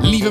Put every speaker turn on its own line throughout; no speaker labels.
Lieve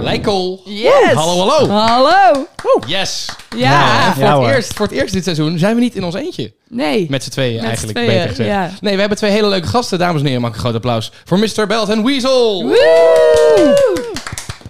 Leikel.
Yes!
Hallo, hallo.
Hallo!
Yes.
Ja.
Nou, voor,
Ja,
het
hoor.
eerst, voor het eerst dit seizoen zijn we niet in ons eentje.
Nee.
Met z'n tweeën
Met
eigenlijk,
z'n tweeën,
beter gezegd.
ja.
Nee, we hebben twee hele leuke gasten, dames en heren. Maak een groot applaus voor Mr. Belt en Weasel.
Woe!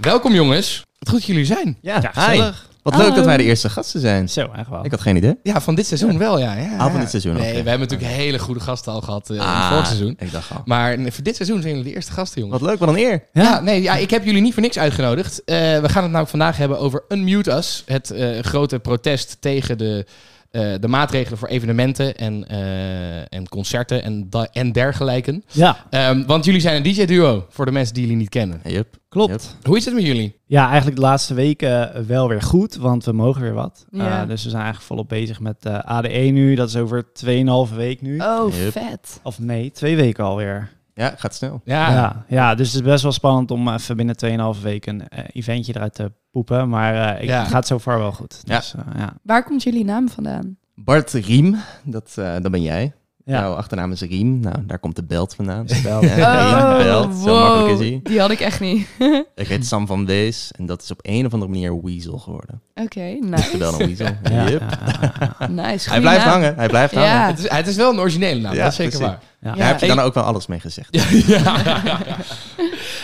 Welkom jongens. Wat goed dat jullie zijn.
Ja,
gezellig. Wat
Hallo.
leuk dat wij de eerste gasten zijn.
Zo, eigenlijk wel.
Ik had geen idee.
Ja, van dit seizoen wel, ja. ja, ja.
van dit seizoen,
Nee,
oké. Ah,
we hebben natuurlijk hele goede gasten al gehad eh, in het vorig seizoen.
Ik dacht al.
Maar nee, voor dit seizoen zijn jullie de eerste gasten, jongens.
Wat leuk, wat een eer.
Ja, nee, ja, ik heb jullie niet voor niks uitgenodigd. Eh, we gaan het namelijk vandaag hebben over Unmute Us. Het eh, grote protest tegen de, eh, de maatregelen voor evenementen en, eh, en concerten en, da- en dergelijke.
Ja,
Ehm, want jullie zijn een DJ-duo, voor de mensen die jullie niet kennen.
Yep.
klopt.
Yep.
Hoe is het met jullie?
Ja, eigenlijk de laatste weken eh, wel weer goed, want we mogen weer wat.
Ja.
Eh, dus we zijn eigenlijk volop bezig met eh, ADE nu. Dat is over 2,5 week nu.
Oh,
Yep.
vet.
Of nee, twee weken alweer.
Ja, gaat snel.
Ah.
Ja,
Ja, ja, dus het is best wel spannend om even binnen 2,5 weken een eh, eventje eruit te poepen. Maar eh, ik
Ja.
gaat zo ver wel goed.
Ja.
Dus, eh, ja.
Waar komt jullie naam vandaan?
Bart Riem, dat, eh, dat ben jij.
Ja.
Jouw achternaam is Riem. Nou, daar komt de belt vandaan.
Belt.
Ja,
Oh,
Riem, belt. Zo makkelijk is hij.
Oh, Die had ik echt niet.
Ik heet Sam van Wees en dat is op een of andere manier Weasel geworden.
Oké, nice.
De bel en Weasel.
Ja,
Yep.
ja, ja, ja.
nice.
Hij
goeie
blijft
naam.
hangen, hij blijft
Ja.
hangen.
Het, is, het is wel een originele naam,
Ja,
dat is zeker
precies.
waar.
Ja.
Daar heb je
Hey.
dan ook wel alles mee gezegd.
Ja, ja, ja, ja.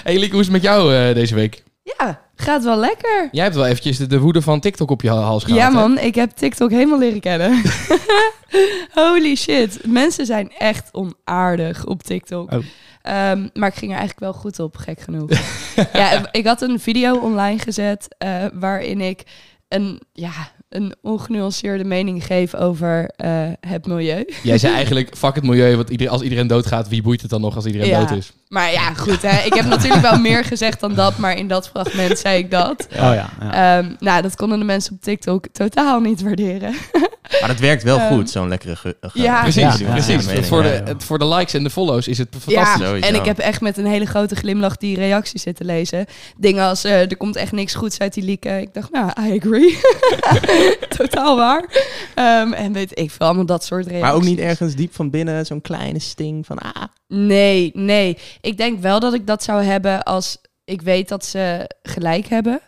Hey Lieke, hoe is het met jou eh, deze week?
Ja, gaat wel lekker.
Jij hebt wel eventjes de, de woede van TikTok op je ha- hals gehaald.
Ja
hè?
man, ik heb TikTok helemaal leren kennen. Holy shit. Mensen zijn echt onaardig op TikTok.
Oh.
Ehm, maar ik ging er eigenlijk wel goed op, gek genoeg. ja, ik had een video online gezet eh, waarin ik een, ja, een ongenuanceerde mening geef over eh, het milieu.
Jij zei eigenlijk, fuck het milieu, want iedereen, als iedereen doodgaat, wie boeit het dan nog als iedereen
Ja.
dood is?
Maar ja, goed hè. Ik heb natuurlijk wel meer gezegd dan dat, maar in dat fragment zei ik dat.
Oh ja, ja.
Ehm, nou, dat konden de mensen op TikTok totaal niet waarderen.
Maar het werkt wel
Ehm,
goed, zo'n lekkere... ge- ge-
Ah. ja.
Precies,
Ja, ja,
precies.
ja, ja,
voor, de,
ja, ja.
het- voor de likes en de follows is het fantastisch.
Ja,
Sowieso.
en ik heb echt met een hele grote glimlach die reacties zitten lezen. Dingen als, eh, er komt echt niks goeds uit die lieken. Ik dacht, nou, I agree. Totaal waar. Ehm, en weet ik veel, allemaal dat soort reacties.
Maar ook niet ergens diep van binnen zo'n kleine sting van... Ah,
Nee, nee. Ik denk wel dat ik dat zou hebben als ik weet dat ze gelijk hebben.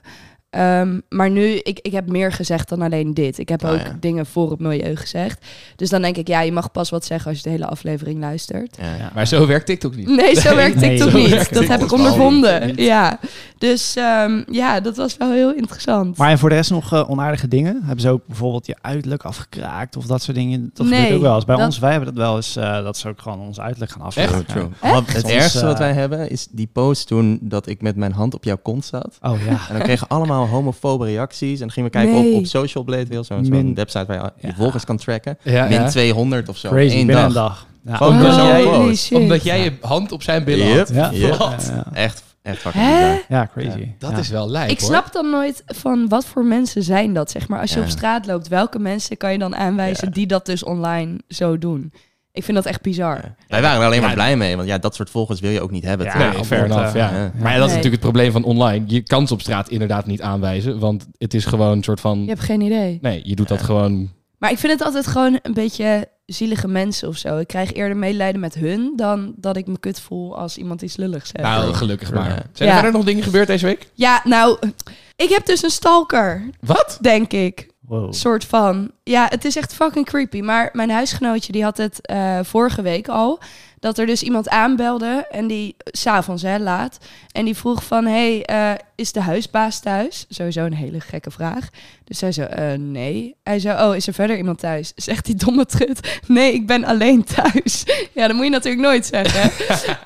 Ehm, maar nu, ik, ik heb meer gezegd dan alleen dit. Ik heb
Oh,
ook
ja.
dingen voor het milieu gezegd. Dus dan denk ik, ja, je mag pas wat zeggen als je de hele aflevering luistert.
ja, ja.
Maar zo werkt TikTok niet.
Nee, zo werkt
nee,
TikTok
zo
niet.
werkt
Dat heb ik
TikTok niet.
ondervonden. Ja. Dus ehm, ja, dat was wel heel interessant.
Maar en voor de rest nog eh, onaardige dingen? Hebben ze ook bijvoorbeeld je uiterlijk afgekraakt of dat soort dingen? Dat
Nee,
gebeurt ook wel eens. Bij
dat-
ons, wij hebben dat wel eens, eh, dat ze ook gewoon ons uiterlijk gaan afkraken.
Echt?
True.
Echt?
Want het
Soms,
ergste wat
eh,
wij hebben is die post toen dat ik met mijn hand op jouw kont zat.
Oh ja.
En dan kregen allemaal homofobe reacties. En dan gingen we kijken
Nee.
op, op Social Blade, heel zo'n
Min-
zo'n website waar je je
Ja.
volgers kan tracken.
Ja,
Min
ja.
200 of zo. op
Crazy,
één
binnen
dag.
een dag. Ja.
Gewoon
Oh,
omdat jij-
Holy
post.
shit.
Omdat jij je hand op zijn billen had.
Yep.
Ja,
Yep.
ja, ja.
Echt, echt fucking
Hè?
bizar.
Ja, crazy.
Dat
Ja.
is wel lijp,
Ik
hoor.
snap dan nooit van wat voor mensen zijn dat, zeg maar. Als je
Ja.
op straat loopt, welke mensen kan je dan aanwijzen die dat dus online zo doen? Ik vind dat echt bizar.
Ja. Wij waren er alleen maar blij mee, want ja, dat soort volgers wil je ook niet hebben.
Ja,
toch?
Nee, fair
want,
enough,
eh,
ja.
ja.
Maar ja, dat is
Nee.
natuurlijk het probleem van online. Je kan ze op straat inderdaad niet aanwijzen, want het is gewoon een soort van...
Je hebt geen idee.
Nee, je doet dat gewoon...
Maar ik vind het altijd gewoon een beetje zielige mensen of zo. Ik krijg eerder medelijden met hun dan dat ik me kut voel als iemand iets lulligs zegt.
Nou, gelukkig
True.
maar.
Ja.
Zijn er
Ja.
verder nog dingen gebeurd deze week?
Ja, nou, ik heb dus een stalker,
Wat?
denk ik.
Wow.
soort van. Ja, het is echt fucking creepy. Maar mijn huisgenootje die had het eh, vorige week al. Dat er dus iemand aanbelde. En die, eh, s'avonds hè, laat. En die vroeg van, hey, eh, is de huisbaas thuis? Sowieso een hele gekke vraag. Dus zij zo, eh, nee. Hij zo, oh, is er verder iemand thuis? Zegt die domme trut, nee, ik ben alleen thuis. ja, dat moet je natuurlijk nooit zeggen.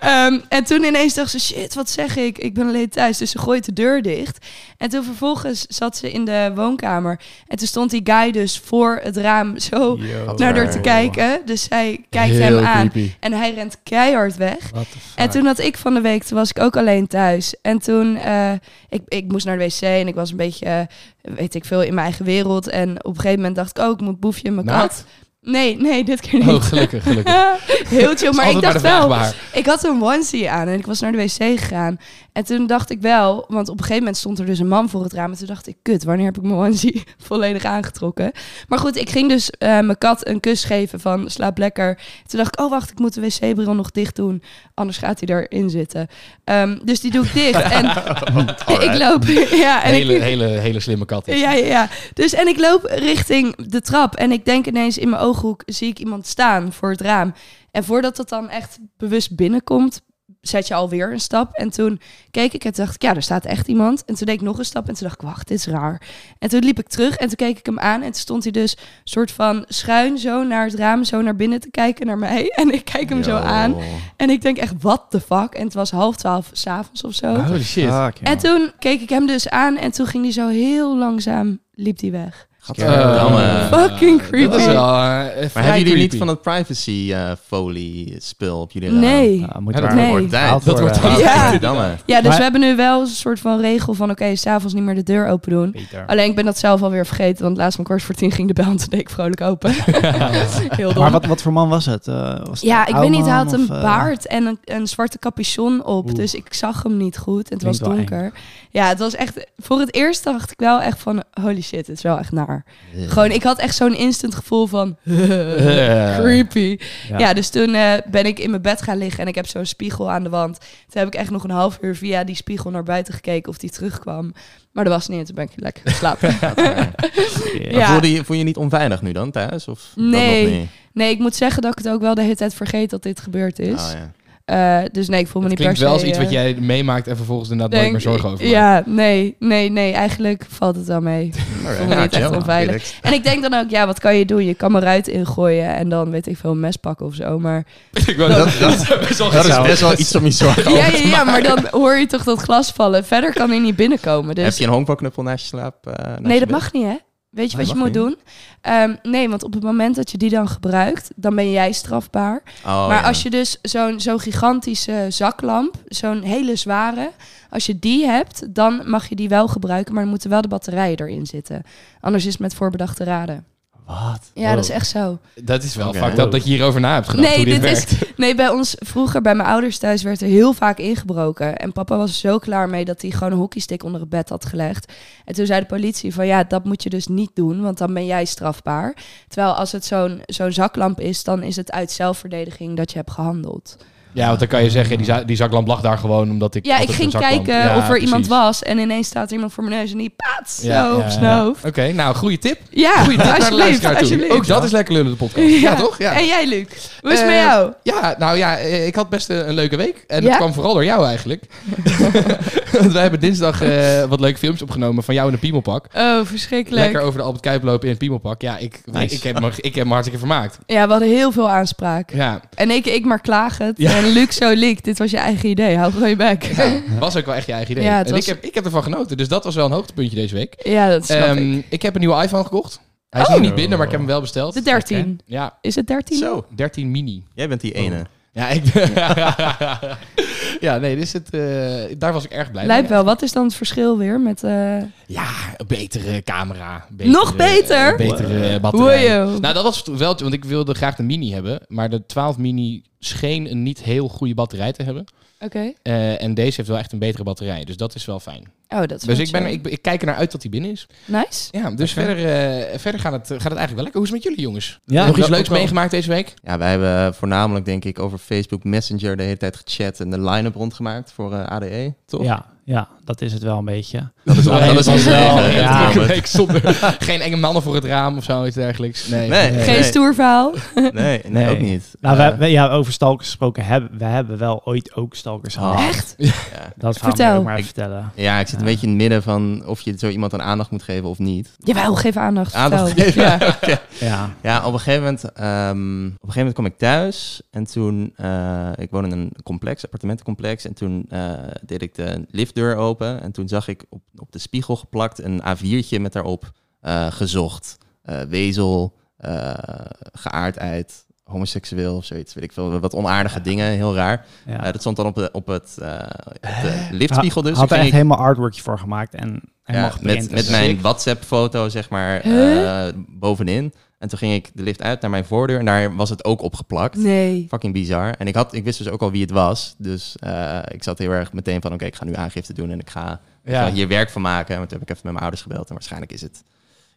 Ehm, en toen ineens dacht ze, shit, wat zeg ik? Ik ben alleen thuis. Dus ze gooit de deur dicht. En toen vervolgens zat ze in de woonkamer. En toen stond die guy dus voor het raam zo
Yo.
naar haar te
Wow.
kijken. Dus zij kijkt
Heel
hem aan.
creepy.
En hij rent keihard weg.
What the fuck?
En toen had ik van de week, toen was ik ook alleen thuis. En toen, eh, ik, ik moest naar de wc en ik was een beetje, eh, weet ik veel, in mijn eigen wereld. En op een gegeven moment dacht ik ook, ik moet boefje en mijn kat.
Naakt?
Nee, nee, dit keer niet.
Nou? Oh, gelukkig, gelukkig.
Heel chill,
Dat is
maar ik
altijd
dacht
de vraag
wel,
bij haar.
ik had een onesie aan en ik was naar de wc gegaan. En toen dacht ik wel, want op een gegeven moment stond er dus een man voor het raam. En toen dacht ik, kut, wanneer heb ik mijn onesie volledig aangetrokken? Maar goed, ik ging dus eh, mijn kat een kus geven van slaap lekker. Toen dacht ik, oh wacht, ik moet de wc-bril nog dicht doen. Anders gaat hij erin zitten. Ehm, dus die doe ik dicht. En ik loop... Ja, en
Oh, hele,
ik,
hele, hele slimme kat. is.
ja, ja, ja. Dus en ik loop richting de trap en ik denk ineens in mijn ooghoek zie ik iemand staan voor het raam. En voordat dat dan echt bewust binnenkomt, zet je alweer een stap. En toen keek ik en toen dacht ik, ja, er staat echt iemand. En toen deed ik nog een stap en toen dacht ik, wacht, dit is raar. En toen liep ik terug en toen keek ik hem aan en toen stond hij dus soort van schuin zo naar het raam, zo naar binnen te kijken naar mij. En ik kijk hem zo aan en ik denk echt, what the fuck? En het was half twaalf s'avonds of zo.
Holy shit.
Fuck, joh.
En toen keek ik hem dus aan en toen ging hij zo heel langzaam, liep hij weg.
Gadverdamme.
Eh,
Fucking creepy.
Dat is wel eh, vrij
Maar hebben jullie niet
creepy.
van het privacy eh, folie spul op jullie raam?
Nee.
Ah, moet
Ja,
er-
dat-
Dat
Nee.
wordt tijd.
Dat wordt
Ah,
tijd.
Ja.
Gadverdamme.
Ja, dus
Maar-
we hebben nu wel een soort van regel van oké, s s'avonds niet meer de deur open doen.
Peter.
Alleen ik ben dat zelf alweer vergeten, want laatst om kwart voor tien ging de bel en toen deed ik vrolijk open. heel dom.
Maar wat, wat voor man was het? Eh, was het
Ja,
een
ik
oude
weet niet, hij
man
had een
of, eh,
baard en een, een zwarte capuchon op,
Oeh.
dus ik zag hem niet goed en het was
Klinkt wel
donker. Ja, het was echt, voor het eerst dacht ik wel echt van, holy shit, het is wel echt naar.
Eh.
Gewoon, ik had echt zo'n instant gevoel van,
Eh.
creepy.
Ja.
Ja, dus toen eh, ben ik in mijn bed gaan liggen en ik heb zo'n spiegel aan de wand. Toen heb ik echt nog een half uur via die spiegel naar buiten gekeken of die terugkwam. Maar dat was niet en toen ben ik lekker geslapen.
Ja.
Maar
ja.
voelde je, voel je je niet onveilig nu dan thuis? Of dat
Nee.
nog niet?
Nee, ik moet zeggen dat ik het ook wel de hele tijd vergeet dat dit gebeurd is.
Oh, ja.
Eh, dus nee, ik voel me
Het
niet per
klinkt
se...
wel als iets wat
eh,
jij meemaakt en vervolgens inderdaad nooit
denk-
meer zorgen over maakt.
Ja, nee, nee, nee. Eigenlijk valt het wel mee.
Alright.
voel me niet
chill.
echt onveilig.
Oké, dat-
En ik denk dan ook, ja, wat kan je doen? Je kan me eruit ingooien en dan, weet ik veel, een mes pakken of zo. Maar
Ik wou-
Dat- dat-
best wel
Dat is
gezellig.
best wel iets om je zorgen
ja,
over
ja,
te
ja,
maken.
maar dan hoor je toch dat glas vallen. Verder kan hij niet binnenkomen. Dus
Heb je een honkbalknuppel naast je slaap? eh, naast
nee,
je
dat
bed?
mag niet, hè? Weet je
Oh,
wat je
mag
moet
niet?
doen? Ehm, nee, want op het moment dat je die dan gebruikt, dan ben jij strafbaar.
Oh,
maar
ja.
als je dus zo'n zo'n gigantische zaklamp, zo'n hele zware, als je die hebt, dan mag je die wel gebruiken, maar dan moeten wel de batterijen erin zitten. Anders is het met voorbedachte raden.
Wat? Oh.
Ja, dat is echt zo.
Dat is wel
Oké.
fucked up dat je hierover na hebt gedacht
Nee,
hoe dit,
dit is-
werkt.
Nee, bij ons vroeger, bij mijn ouders thuis, werd er heel vaak ingebroken. En papa was er zo klaar mee dat hij gewoon een hockeystick onder het bed had gelegd. En toen zei de politie van ja, dat moet je dus niet doen, want dan ben jij strafbaar. Terwijl als het zo'n zo'n zaklamp is, dan is het uit zelfverdediging dat je hebt gehandeld.
Ja, want dan kan je zeggen, die, za- die zaklamp lag daar gewoon omdat ik...
ja, ik
altijd
ging
een zaklamp-
kijken
Ja,
of er iemand
precies.
was en ineens staat er iemand voor mijn neus en die paats zo
Ja,
op
ja,
zijn
ja.
hoofd.
Oké, nou, goede tip.
Ja,
Goeie tip naar de
alsjeblieft,
luisteraar toe.
alsjeblieft.
Ook dat is lekker lullen, de podcast. Ja, toch? Ja.
En jij, Luc? Hoe is het met
Eh,
jou?
Ja, nou ja, eh, ik had best een, een leuke week. En dat
Ja?
kwam vooral door jou eigenlijk. Want wij hebben dinsdag eh, wat leuke filmpjes opgenomen van jou in een piemelpak.
Oh, verschrikkelijk.
Lekker over de Albert Kuip lopen in een piemelpak. Ja, ik, ik,
Nice.
ik, heb, me, ik heb me hartstikke vermaakt.
Ja, we hadden heel veel aanspraak.
Ja,
En ik, ik maar klaag het.
Ja.
En Luc zo leak. Dit was je eigen idee. Hou gewoon je bek. Ja,
was ook wel echt je eigen idee.
Ja, het
en ik,
was-
heb, ik heb ervan genoten. Dus dat was wel een hoogtepuntje deze week.
dat snap
Ehm,
ik.
ik. Oh. heb een nieuwe iPhone gekocht. Hij is nog niet binnen, maar ik heb hem wel besteld.
De 13.
Ja,
Is het 13?
Zo,
13 mini.
jij bent die ene.
Ja, ik ben... ja, nee, dus het, eh, daar was ik erg blij
Lijp
mee.
wel. Wat is dan het verschil weer met... eh
Ja, een betere camera.
Nog beter?
eh, betere eh, batterij.
Wojo.
Nou, dat was het wel, want ik wilde graag de mini hebben. Maar de 12 mini scheen een niet heel goede batterij te hebben.
Oké.
Eh, en deze heeft wel echt een betere batterij. Dus dat is wel fijn.
Oh, dat is
Dus
wel
ik, ben,
chill.
ik, ik kijk er naar uit dat hij binnen is.
Nice.
Ja, dus
Oké.
verder, eh, verder gaat, het, gaat het eigenlijk wel lekker. Hoe is het met jullie, jongens?
Ja,
Nog iets
dat
leuks
ook wel.
meegemaakt deze week?
Ja, wij hebben voornamelijk, denk ik, over Facebook Messenger de hele tijd gechat en de line-up rondgemaakt voor eh, ADE, toch?
Ja, ja, dat is het wel een beetje.
Dat is wel,
Nee,
dat is
het
ons
was wel
leven,
een
ja,
hele drukke
Robert.
week zonder geen enge mannen voor het raam of zo, iets dergelijks. Nee. Ah.
Nee,
Nee.
Geen
nee,
stoer verhaal.
nee, nee,
Nee.
ook niet.
Nou,
Eh,
we, we- ja, over stalkers gesproken hebben we hebben wel ooit ook stalkers gehad.
Ah.
Echt?
ja.
Dat gaan
Vertel.
we ook maar even
Ik-
vertellen.
Ja, ik zit
Ah.
een
Ja.
beetje in het midden van of je zo iemand aan aandacht moet geven of niet.
Jawel, geef aandacht.
Aandacht
vertel.
geven.
Ja.
Oké.
Ja.
Ja, op een gegeven moment, ehm, op een gegeven moment kwam ik thuis en toen, eh, ik woon in een complex, appartementencomplex, en toen eh, deed ik de liftdeur open en toen zag ik op, op de spiegel geplakt een A4'tje met daarop eh, gezocht. Eh, wezel, eh geaardheid, homoseksueel of zoiets, weet ik veel, wat onaardige dingen, heel raar.
Ja.
Eh, dat stond dan op, de- op het eh, op de liftspiegel dus.
had
Toen
er echt
ging ik-
helemaal artworkje voor gemaakt en helemaal
ja, met,
geprint.
met
Dus-
mijn WhatsApp-foto, zeg maar, eh,
Huh?
bovenin. En toen ging ik de lift uit naar mijn voordeur en daar was het ook opgeplakt.
Nee.
Fucking bizar. En ik, had, ik wist dus ook al wie het was. Dus eh, ik zat heel erg meteen van, oké, ik ga nu aangifte doen en ik ga, ik ga hier werk van maken. Want toen heb ik even met mijn ouders gebeld. En waarschijnlijk is het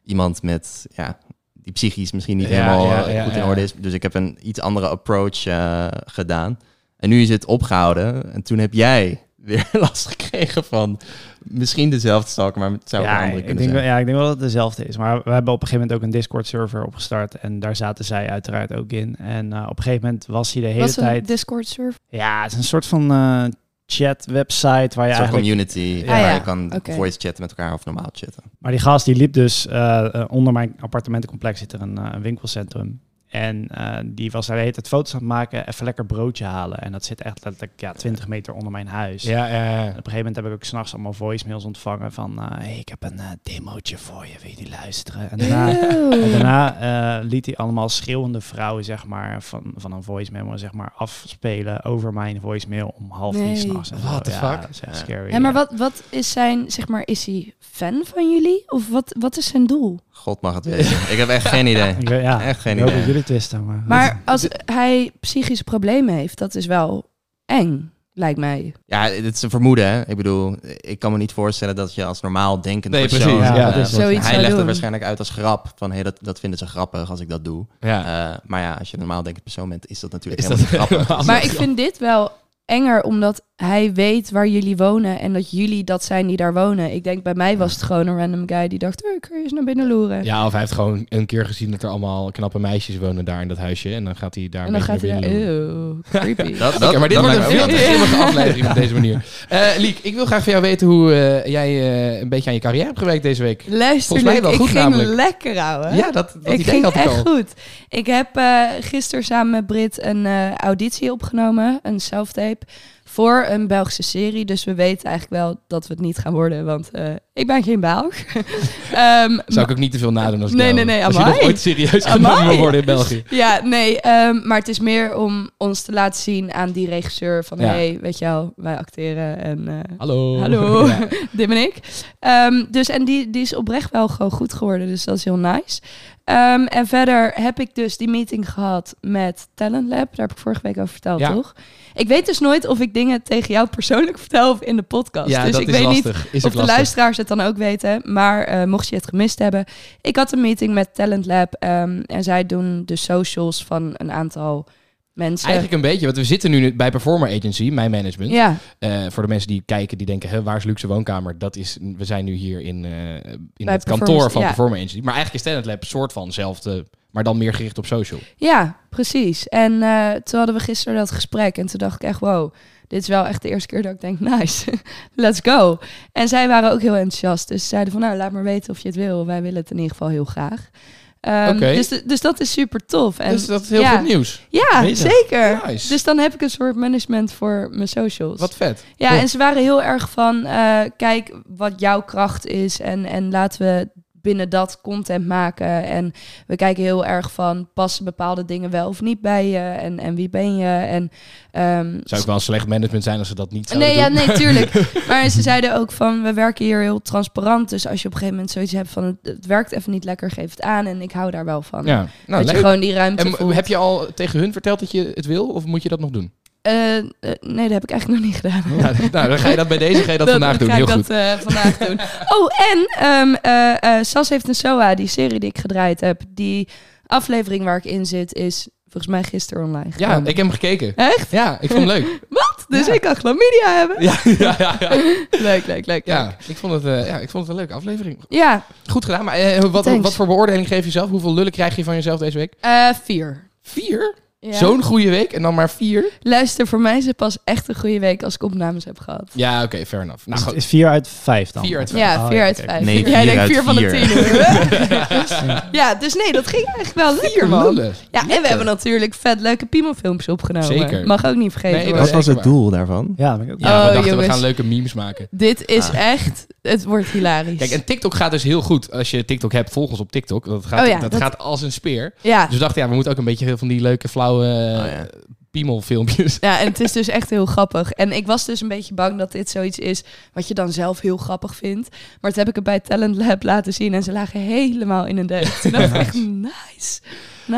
iemand met, ja, die psychisch misschien niet
Ja,
helemaal
ja,
eh,
ja,
goed
ja.
in orde is. Dus ik heb een iets andere approach eh, gedaan. En nu is het opgehouden. En toen heb jij weer last gekregen van misschien dezelfde stalker, maar het zou ook een
ja,
andere
ik
kunnen
denk,
zijn.
wel- ja, ik denk wel dat het dezelfde is. Maar we hebben op een gegeven moment ook een Discord-server opgestart. En daar zaten zij uiteraard ook in. En eh, op een gegeven moment was hij de hele
was een
tijd...
Discord-server.
Ja, het is een soort van eh, chat-website waar je
Een soort
eigenlijk...
community
Ah,
waar
ja.
je kan
Oké.
voice chatten met elkaar of normaal chatten.
Maar die gast die liep dus eh, eh, onder mijn appartementencomplex zit er een, eh, een winkelcentrum. En eh, die was daar de hele tijd foto's aan het maken, even lekker broodje halen. En dat zit echt letterlijk ja, 20 meter onder mijn huis.
Ja, eh, ja, ja.
En op een gegeven moment heb ik ook s'nachts allemaal voicemails ontvangen van... eh, hey, ik heb een eh, demootje voor je, wil je die luisteren? En daarna, en daarna eh, liet hij allemaal schreeuwende vrouwen zeg maar, van, van een voicemail zeg maar, afspelen over mijn voicemail om half
Nee.
drie s'nachts.
What the
Ja,
fuck?
dat is echt
Ja.
scary.
Ja, maar wat, wat is zijn, zeg maar, is hij fan van jullie? Of wat, wat is zijn doel?
God mag het weten. ik heb echt geen idee.
Ik weet- ja,
Echt geen
ik hoop
idee.
dat jullie het wisten, maar...
Maar als hij psychische problemen heeft, dat is wel eng, lijkt mij.
Ja, het is een vermoeden. Hè? Ik bedoel, ik kan me niet voorstellen dat je als normaal denkend
Nee,
persoon...
precies, ja,
eh,
dat is
want
zoiets zou
hij legt
doen.
het waarschijnlijk uit als grap. Van, hey, dat, dat vinden ze grappig als ik dat doe.
ja.
Eh, maar ja, als je een normaal denkend persoon bent, is dat natuurlijk
Is
helemaal
dat
niet grappig.
helemaal
Maar ik vind dit wel enger, omdat hij weet waar jullie wonen en dat jullie dat zijn die daar wonen. Ik denk, bij mij was het gewoon een random guy die dacht, oh, ik ga eens naar binnen loeren.
Ja, of hij heeft gewoon een keer gezien dat er allemaal knappe meisjes wonen daar in dat huisje. En dan gaat hij daar
en dan
een beetje
gaat hij
naar
daar,
binnen lopen.
eeuw, creepy.
Dat, dat,
Oké, maar dit
dat
wordt een
lijkt me
veel
ook
te
wel.
grimmige aflevering op deze manier. Eh Liek, ik wil graag van jou weten hoe eh, jij eh, een beetje aan je carrière hebt gewerkt deze week.
Luister,
Volgens mij
Luc,
wel
ik
goed,
ging
namelijk.
lekker, ouwe.
Ja, dat, dat
ik
idee
ging
had ik
echt
al.
goed. Ik heb eh, gisteren samen met Brit een eh, auditie opgenomen, een selftape, voor een Belgische serie. Dus we weten eigenlijk wel dat we het niet gaan worden, want eh, ik ben geen Belg. Ehm,
Zou ik ook niet te veel nadoen als ik
Nee,
jou-
nee, nee,
Als je
amai.
nog ooit serieus
Amai.
genomen wil worden in België.
Ja, nee, ehm, maar het is meer om ons te laten zien aan die regisseur van...
Ja.
hey, weet je wel, wij acteren en eh,
Hallo.
Hallo.
Ja.
dit ben ik. Ehm, dus, en die, die is oprecht wel gewoon goed geworden, dus dat is heel nice. Ehm, en verder heb ik dus die meeting gehad met Talent Lab. Daar heb ik vorige week over verteld,
Ja.
toch? Ik weet dus nooit of ik dingen tegen jou persoonlijk vertel of in de podcast.
Ja,
dus
dat
ik
is
weet niet
lastig. is
of
ook
de
lastig.
luisteraars het dan ook weten. Maar eh, mocht je het gemist hebben. Ik had een meeting met Talent Lab. ehm, en zij doen de socials van een aantal mensen.
Eigenlijk een beetje, want we zitten nu bij Performer Agency, mijn management.
ja,
Eh, voor de mensen die kijken, die denken, hè, waar is Luxe Woonkamer? Dat is, we zijn nu hier in, eh, in
Bij
het kantoor
Performance,
van
ja.
Performer Agency. Maar eigenlijk is Talent Lab een soort van hetzelfde, maar dan meer gericht op social.
ja, precies. En eh, toen hadden we gisteren dat gesprek. En toen dacht ik echt, wow, dit is wel echt de eerste keer dat ik denk, nice, let's go. En zij waren ook heel enthousiast. Dus ze zeiden van, nou, laat maar weten of je het wil. Wij willen het in ieder geval heel graag. Ehm,
Oké.
dus, de- dus dat is super tof. En
dus dat is heel
ja.
goed nieuws.
Ja,
Bezig.
zeker.
Nice.
Dus dan heb ik een soort management voor mijn socials.
Wat vet.
Ja,
Cool.
en ze waren heel erg van, eh, kijk wat jouw kracht is en, en laten we binnen dat content maken. En we kijken heel erg van, passen bepaalde dingen wel of niet bij je en, en wie ben je? En, ehm,
Zou ook wel een slecht management zijn als ze dat niet zouden
Nee, ja,
doen.
nee, tuurlijk. Maar ze zeiden ook van, we werken hier heel transparant. Dus als je op een gegeven moment zoiets hebt van, het, het werkt even niet lekker, geef het aan. En ik hou daar wel van.
Ja, nou,
dat je
leuk.
gewoon die ruimte
En
voelt.
heb je al tegen hun verteld dat je het wil, of moet je dat nog doen?
Eh, eh, nee, dat heb ik eigenlijk nog niet gedaan.
Ja, nou, dan ga je dat bij deze ga je dat, vandaag doen.
ga
Heel
ik
goed.
dat eh, vandaag doen. Oh, en ehm, eh, eh, Sas heeft een SOA, die serie die ik gedraaid heb. Die aflevering waar ik in zit is volgens mij gisteren online
ja,
gekomen.
ik heb hem gekeken.
Echt?
Ja, ik vond hem leuk.
Dus
ja.
ik kan chlamydia hebben.
Ja, ja, ja, ja.
Leuk, leuk, leuk. leuk.
ja, ik vond het, eh, ja, ik vond het een leuke aflevering.
Ja,
Goed gedaan, maar eh, wat,
Thanks.
wat voor beoordeling geef je zelf? Hoeveel lullen krijg je van jezelf deze week?
eh, vier.
Vier?
Ja.
Zo'n goede week en dan maar vier.
Luister, voor mij is het pas echt een goede week als ik opnames heb gehad.
Ja, oké, fair enough. Nou
Dus
goed.
het is 4 uit 5 dan.
Vier uit vijf.
Ja,
Oh,
vier
ja,
uit
kijk.
vijf.
Nee,
Jij
vier
denkt
uit
vier van de
vier.
tien. hoor. ja, dus nee, dat ging eigenlijk wel lekker, man.
lullen.
Ja, en we hebben natuurlijk vet leuke piemelfilmpjes opgenomen.
Zeker.
Mag ook niet vergeten
Nee,
worden.
dat
Wat
is
was
zeker
het doel daarvan?
Ja, dat ben ik ook.
Ja, we
Oh,
dachten we
jongens.
gaan leuke memes maken.
Dit is
Ah.
echt, het wordt hilarisch.
Kijk, en TikTok gaat dus heel goed. Als je TikTok hebt, volg ons op TikTok. Dat gaat,
Oh ja,
dat
dat-
gaat als een speer.
ja. Oh
Dus we dachten, ja, we moeten ook een beetje heel van die leuke, flauwe
Nou ja.
eh, piemelfilmpjes.
ja, en het is dus echt heel grappig. En ik was dus een beetje bang dat dit zoiets is wat je dan zelf heel grappig vindt. Maar toen heb ik het bij Talent Lab laten zien en ze lagen helemaal in een deuk. Toen dacht ik echt, nice. nice.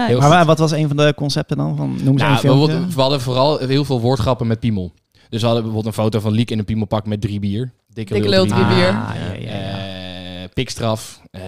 Heel
Maar wa- wat was een van de concepten dan? Van, noem ze
Nou,
een filmpje.
bijvoorbeeld, we hadden vooral heel veel woordgrappen met piemel. Dus we hadden bijvoorbeeld een foto van Liek in een piemelpak met drie bier. Dikke,
Dikke
lul
lul drie bier.
Ah, ja, ja, ja.
Eh, pikstraf. eh,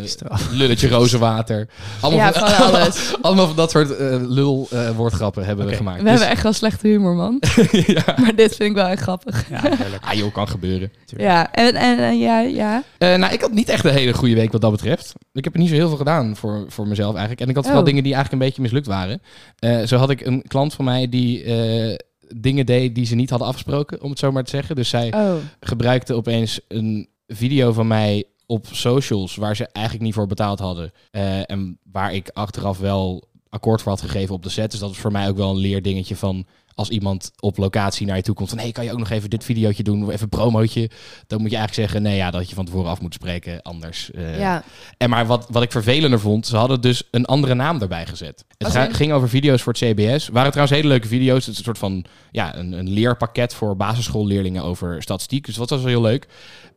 Pikstraf.
Lulletje rozenwater. Allemaal,
Ja,
van,
van alles.
allemaal van dat soort eh, lul eh, woordgrappen hebben we
Oké.
gemaakt.
We hebben echt wel slechte humor, man.
Dus- ja.
Maar dit vind ik wel echt grappig.
ja, heerlijk.
Ah joh, kan gebeuren.
Ja, en, en, en ja, ja.
Eh, nou, ik had niet echt een hele goede week wat dat betreft. Ik heb er niet zo heel veel gedaan voor, voor mezelf eigenlijk. En ik had vooral
Oh.
dingen die eigenlijk een beetje mislukt waren. Eh, zo had ik een klant van mij die eh, dingen deed die ze niet hadden afgesproken, om het zo maar te zeggen. Dus zij
Oh,
gebruikte opeens een video van mij op socials waar ze eigenlijk niet voor betaald hadden. Eh, en waar ik achteraf wel akkoord voor had gegeven op de set. Dus dat is voor mij ook wel een leerdingetje van als iemand op locatie naar je toe komt van hey, kan je ook nog even dit videootje doen, of even een promootje. Dan moet je eigenlijk zeggen nee ja, dat je van tevoren af moet spreken anders. eh.
ja.
En maar wat, wat ik vervelender vond, ze hadden dus een andere naam erbij gezet. Het
Als
ga-
in?
ging over video's voor het CBS. Waren trouwens hele leuke video's. Het is een soort van ja, een, een leerpakket voor basisschoolleerlingen over statistiek. Dus dat was wel heel leuk.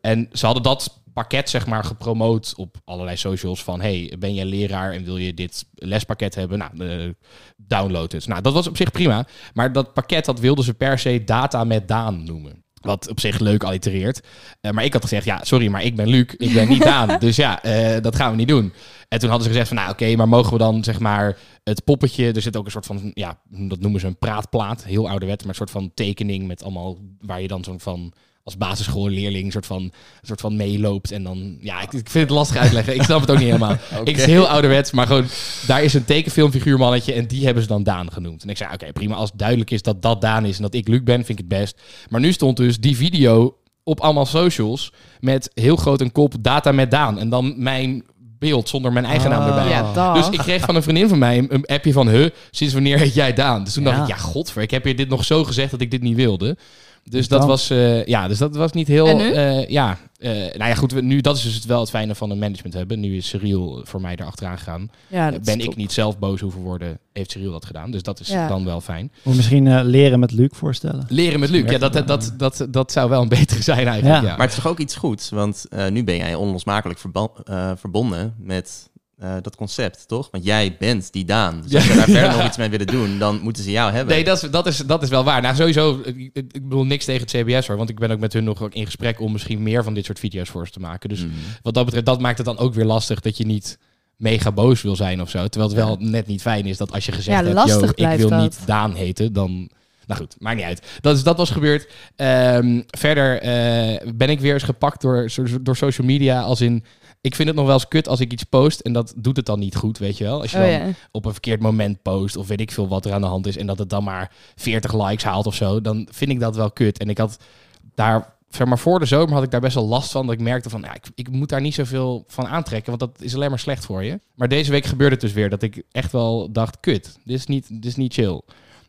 En ze hadden dat pakket zeg maar gepromoot op allerlei socials van hey, ben jij leraar en wil je dit lespakket hebben? Nou, eh, download het. Nou, dat was op zich prima. Maar dat pakket, dat wilden ze per se data met Daan noemen. Wat op zich leuk allitereert. Eh, maar ik had gezegd, ja, sorry, maar ik ben Luc, ik ben niet Daan. Dus ja, eh, dat gaan we niet doen. En toen hadden ze gezegd van, nou oké, maar mogen we dan zeg maar het poppetje... Er zit ook een soort van, ja, dat noemen ze een praatplaat. Heel ouderwet, maar een soort van tekening met allemaal... Waar je dan zo'n van als basisschoolleerling soort van, soort van meeloopt. En dan, ja, ik, ik vind het lastig uitleggen. Ik snap het ook niet helemaal. Ik, het is heel ouderwets, maar gewoon, daar is een tekenfilmfiguur mannetje en die hebben ze dan Daan genoemd. En ik zei, oké, prima, als het duidelijk is dat dat Daan is en dat ik Luc ben, vind ik het best. Maar nu stond dus die video op allemaal socials met heel groot een kop data met Daan. En dan mijn beeld zonder mijn eigen naam
Ah.
erbij.
Ja, dag.
Dus ik kreeg van een vriendin van mij een- een appje van... Huh, sinds wanneer heet jij Daan? Dus toen dacht
Ja.
ik, ja, godver, ik heb je dit nog zo gezegd dat ik dit niet wilde. Dus dat
Dan.
was, eh, ja, dus dat was niet heel...
En nu?
eh, ja, eh, nou ja, goed, we- nu, dat is dus het wel het fijne van een management hebben. Nu is Cyril voor mij erachteraan gegaan.
ja dat is
ben
top.
ik niet zelf boos hoeven worden, heeft Cyril dat gedaan. Dus dat is
Ja.
dan wel fijn.
Moet misschien eh, leren met Luc voorstellen.
Leren met Luc, ja, dat, dat, dat, dat, dat zou wel een betere zijn eigenlijk.
Ja.
ja.
Maar het is toch ook iets goeds, want eh, nu ben jij onlosmakelijk verba- eh, verbonden met eh, dat concept, toch? Want jij bent die Daan. Dus als
Ja.
ze daar verder
Ja.
nog iets mee willen doen, dan moeten ze jou hebben.
Nee, dat is, dat, is, dat is wel waar. Nou, sowieso, ik, ik bedoel niks tegen het CBS hoor. Want ik ben ook met hun nog in gesprek om misschien meer van dit soort video's voor ze te maken. Dus
Mm.
wat dat betreft, dat maakt het dan ook weer lastig dat je niet mega boos wil zijn of zo. Terwijl het wel net niet fijn is dat als je gezegd
Ja,
hebt,
lastig
"Yo, ik
blijft
wil
dat."
niet Daan heten, dan... Nou goed, maakt niet uit. Dat, is, dat was gebeurd. Ehm, verder eh, ben ik weer eens gepakt door, door social media. Als in, ik vind het nog wel eens kut als ik iets post en dat doet het dan niet goed, weet je wel. Als je
Oh,
dan
ja.
op een verkeerd moment post of weet ik veel wat er aan de hand is en dat het dan maar 40 likes haalt of zo, dan vind ik dat wel kut. En ik had daar, zeg maar voor de zomer had ik daar best wel last van, dat ik merkte van, ja, ik, ik moet daar niet zoveel van aantrekken, want dat is alleen maar slecht voor je. Maar deze week gebeurde het dus weer dat ik echt wel dacht, kut, dit is niet, dit is niet chill.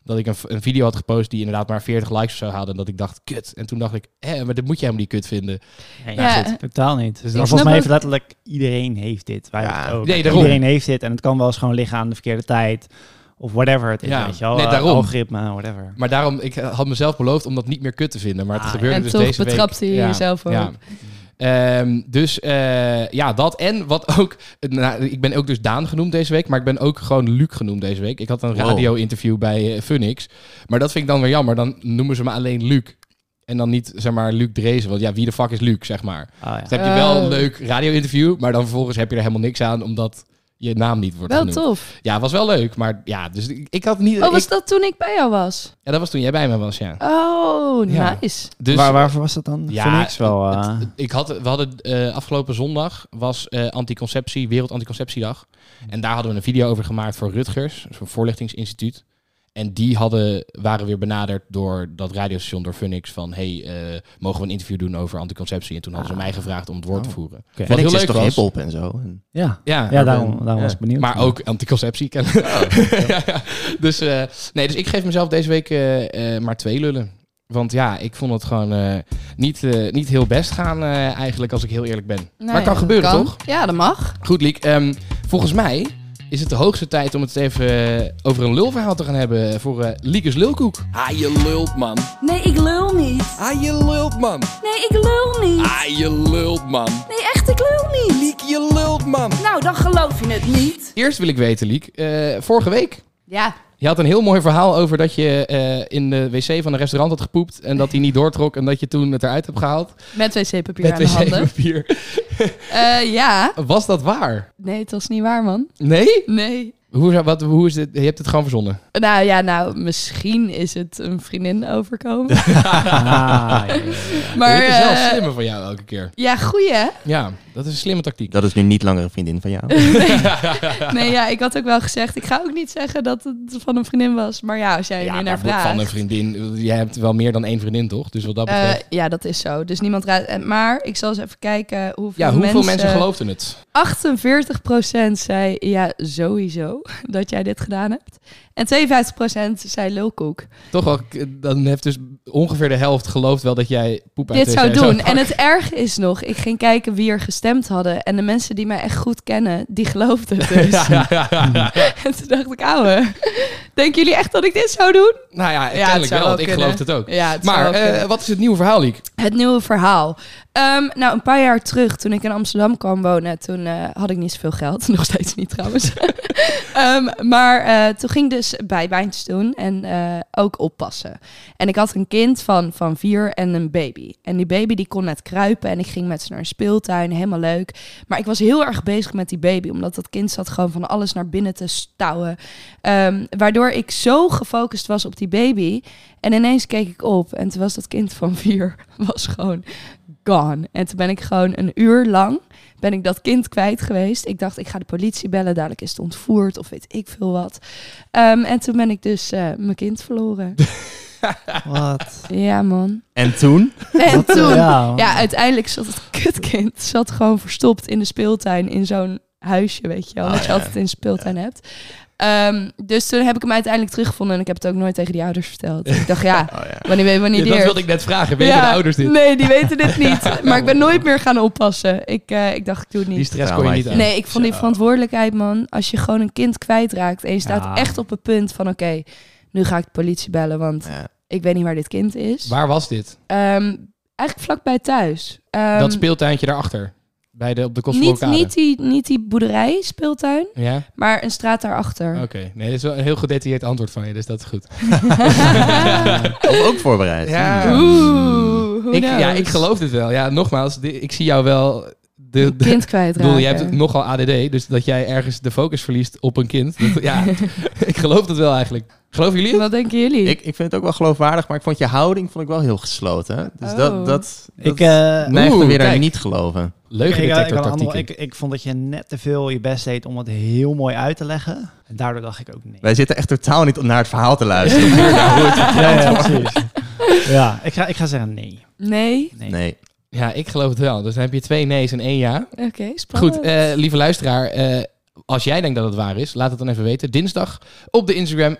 Dat ik een, v- een video had gepost die inderdaad maar 40 likes of zo had en dat ik dacht, kut. En toen dacht ik, hè, maar dit moet je helemaal niet kut vinden.
Nee,
Ja. eh,
goed, totaal niet. Dus
snap
volgens mij heeft
ook-
letterlijk iedereen heeft dit. Wij hebben het ook.
nee, daarom.
Iedereen heeft dit en het kan wel eens gewoon liggen aan de verkeerde tijd. Of whatever het is,
Ja,
weet je wel.
net
Eh,
daarom.
Algoritme, whatever.
Maar daarom, ik had mezelf beloofd om dat niet meer kut te vinden. Maar het
Ah, ja.
gebeurde
En
dus
toch
deze week.
betrapte je
Ja,
jezelf ook.
Ja. Ehm, dus eh, ja, dat en wat ook. nou, ik ben ook dus Daan genoemd deze week, maar ik ben ook gewoon Luc genoemd deze week. Ik had een
Wow.
radio-interview bij eh Funix. Maar dat vind ik dan weer jammer. Dan noemen ze me alleen Luc. En dan niet, zeg maar, Luc Dreesen. Want ja, wie de fuck is Luc, zeg maar.
Oh, ja.
Dus heb je wel
Oh.
een leuk radio-interview, maar dan vervolgens heb je er helemaal niks aan, omdat je naam niet wordt
Wel
genoemd.
tof.
Ja, was wel leuk, maar ja, dus ik, ik had niet...
Oh, was
ik-
dat toen ik bij jou was?
ja, dat was toen jij bij me was, ja.
Oh,
Ja.
nice.
Dus,
Waar, waarvoor was dat dan?
Ja,
Voor niks wel.
het-
eh.
het- ik had, we hadden eh, afgelopen zondag was eh, anticonceptie, Wereld Anticonceptiedag. En daar hadden we een video over gemaakt voor Rutgers, zo'n voorlichtingsinstituut. En die hadden, waren weer benaderd door dat radiostation, door Phoenix, van hey, eh, mogen we een interview doen over anticonceptie? En toen hadden ze mij gevraagd om het woord te
Oh.
voeren.
Ah. Oké.
Wat heel
Phoenix
leuk
is toch
was.
hip-hop en zo. En
ja.
Ja,
ja, daarom, daarom was ik benieuwd.
maar ook anticonceptie kennen. ja, ja. Dus, eh, nee, dus ik geef mezelf deze week eh, eh, maar twee lullen. Want ja, ik vond het gewoon eh, niet, eh, niet heel best gaan eh, eigenlijk, als ik heel eerlijk ben. maar het kan gebeuren, toch?
Ja, dat mag.
Goed, Liek. ehm, volgens mij is het de hoogste tijd om het even eh, over een lulverhaal te gaan hebben voor eh Liekes Lulkoek.
Ah, je lult, man.
Nee, ik lul niet.
Ah, je lult, man.
Nee, ik lul niet.
Ah, je lult, man.
Nee, echt, ik lul niet.
Liek, je lult, man.
Nou, dan geloof je het niet.
Eerst wil ik weten, Liek, eh, vorige week
Ja.
Je had een heel mooi verhaal over dat je eh, in de wc van een restaurant had gepoept. En dat hij niet doortrok en dat je toen het eruit hebt gehaald.
Met wc-papier aan de handen.
wc-papier.
Eh, ja.
Was dat waar?
Nee, het was niet waar, man.
Nee?
Nee.
Hoe, zou- wat, hoe is dit? Je hebt het gewoon verzonnen.
Nou ja, nou, misschien is het een vriendin overkomen.
Ah, ja.
Maar,
dit is wel
eh,
slimmer van jou elke keer.
Ja, goeie hè?
Ja, dat is een slimme tactiek.
dat is nu niet langer een vriendin van jou.
Nee, ja, ik had ook wel gezegd, ik ga ook niet zeggen dat het van een vriendin was. Maar ja, als jij er
ja,
nu
maar
naar
van-
vraagt.
van een vriendin. Jij hebt wel meer dan één vriendin, toch? Dus wat dat
Eh,
betreft.
ja, dat is zo. Dus niemand raadt. en- Maar ik zal eens even kijken hoeveel,
ja, hoeveel mensen,
mensen
geloofden het?
48% zei ja, sowieso dat jij dit gedaan hebt. En 52% zei lulkoek.
Toch wel, k- dan heeft dus ongeveer de helft geloofd wel dat jij poep uit
Dit
de
zou
wc
doen.
pakken.
En het erge is nog, ik ging kijken wie er gestemd hadden. En de mensen die mij echt goed kennen, die geloofden het dus. En toen dacht ik, ouwe, denken jullie echt dat ik dit zou doen?
Nou ja,
het
kennelijk wel,
zou
want
wel
ik
kunnen.
geloof het ook.
Ja, het zou
maar
wel kunnen.
eh, wat is het nieuwe verhaal, Liek?
Het nieuwe verhaal. Ehm, nou, een paar jaar terug, toen ik in Amsterdam kwam wonen, toen eh, had ik niet zoveel geld. Nog steeds niet trouwens. Ehm, maar eh, toen ging ik dus bijbaantjes doen en eh, ook oppassen. En ik had een kind van, van vier en een baby. En die baby die kon net kruipen en ik ging met ze naar een speeltuin, helemaal leuk. Maar ik was heel erg bezig met die baby, omdat dat kind zat gewoon van alles naar binnen te stouwen. Ehm, waardoor ik zo gefocust was op die baby. En ineens keek ik op en toen was dat kind van vier was gewoon gone. En toen ben ik gewoon een uur lang ben ik dat kind kwijt geweest. Ik dacht, ik ga de politie bellen, dadelijk is het ontvoerd of weet ik veel wat. Ehm, en toen ben ik dus eh, mijn kind verloren.
Wat?
ja, man.
en toen?
En toen,
Ja,
ja, uiteindelijk zat het kutkind zat gewoon verstopt in de speeltuin in zo'n huisje, weet je wel, wat je altijd in de speeltuin hebt. Ehm, dus toen heb ik hem uiteindelijk teruggevonden en ik heb het ook nooit tegen die ouders verteld. Dus Ik dacht, ja,
Oh ja.
wanneer weet wanneer
Ja, dat
deert.
wilde ik net vragen. Weten
Ja,
de ouders dit?
Nee, die weten dit niet. Maar ik ben nooit meer gaan oppassen. Ik, eh, ik dacht, ik doe het
Die
niet.
stress kon je niet aan.
Nee, ik vond die
Zo.
verantwoordelijkheid, man. Als je gewoon een kind kwijtraakt en je staat
Ja.
echt op het punt van... oké, nu ga ik de politie bellen, want
Ja.
ik weet niet waar dit kind is.
Waar was dit?
Ehm, eigenlijk vlakbij thuis. Ehm,
dat speeltuintje daarachter. Bij de, op de
niet,
Kostverkade.
niet, die, niet die boerderij, speeltuin,
Ja?
maar een straat daarachter.
Oké. Nee, dat is wel een heel gedetailleerd antwoord van je, dus dat is goed.
Of ook voorbereid.
Ja.
Hmm.
Oeh, who
Ik, ja,
knows?
nou? ik geloof dit wel. Ja, nogmaals, di- ik zie jou wel... De, de,
Kind
ik bedoel,
kwijtraken.
jij hebt nogal ADD, dus dat jij ergens de focus verliest op een kind. Dat, ja, ik geloof dat wel eigenlijk. Geloven jullie? het?
Wat denken jullie?
Ik, ik vind het ook wel geloofwaardig, maar ik vond je houding vond ik wel heel gesloten. Dus
Oh.
dat, dat,
ik,
dat
eh,
neigde
Oeh,
weer naar
kijk.
niet geloven.
ik, ik, ik, had een
Leugendetector-tactiek.
andere- ik, ik vond dat je net te veel je best deed om het heel mooi uit te leggen. En daardoor dacht ik ook nee.
Wij zitten echt totaal niet om naar het verhaal te luisteren.
Ja, ja, precies. Ja, ik ga, ik ga zeggen nee.
Nee?
nee.
Nee.
Ja, ik geloof het wel. Dus dan heb je twee nee's en één ja.
Oké, spannend.
Goed, eh, lieve luisteraar. eh, als jij denkt dat het waar is, laat het dan even weten. Dinsdag op de Instagram,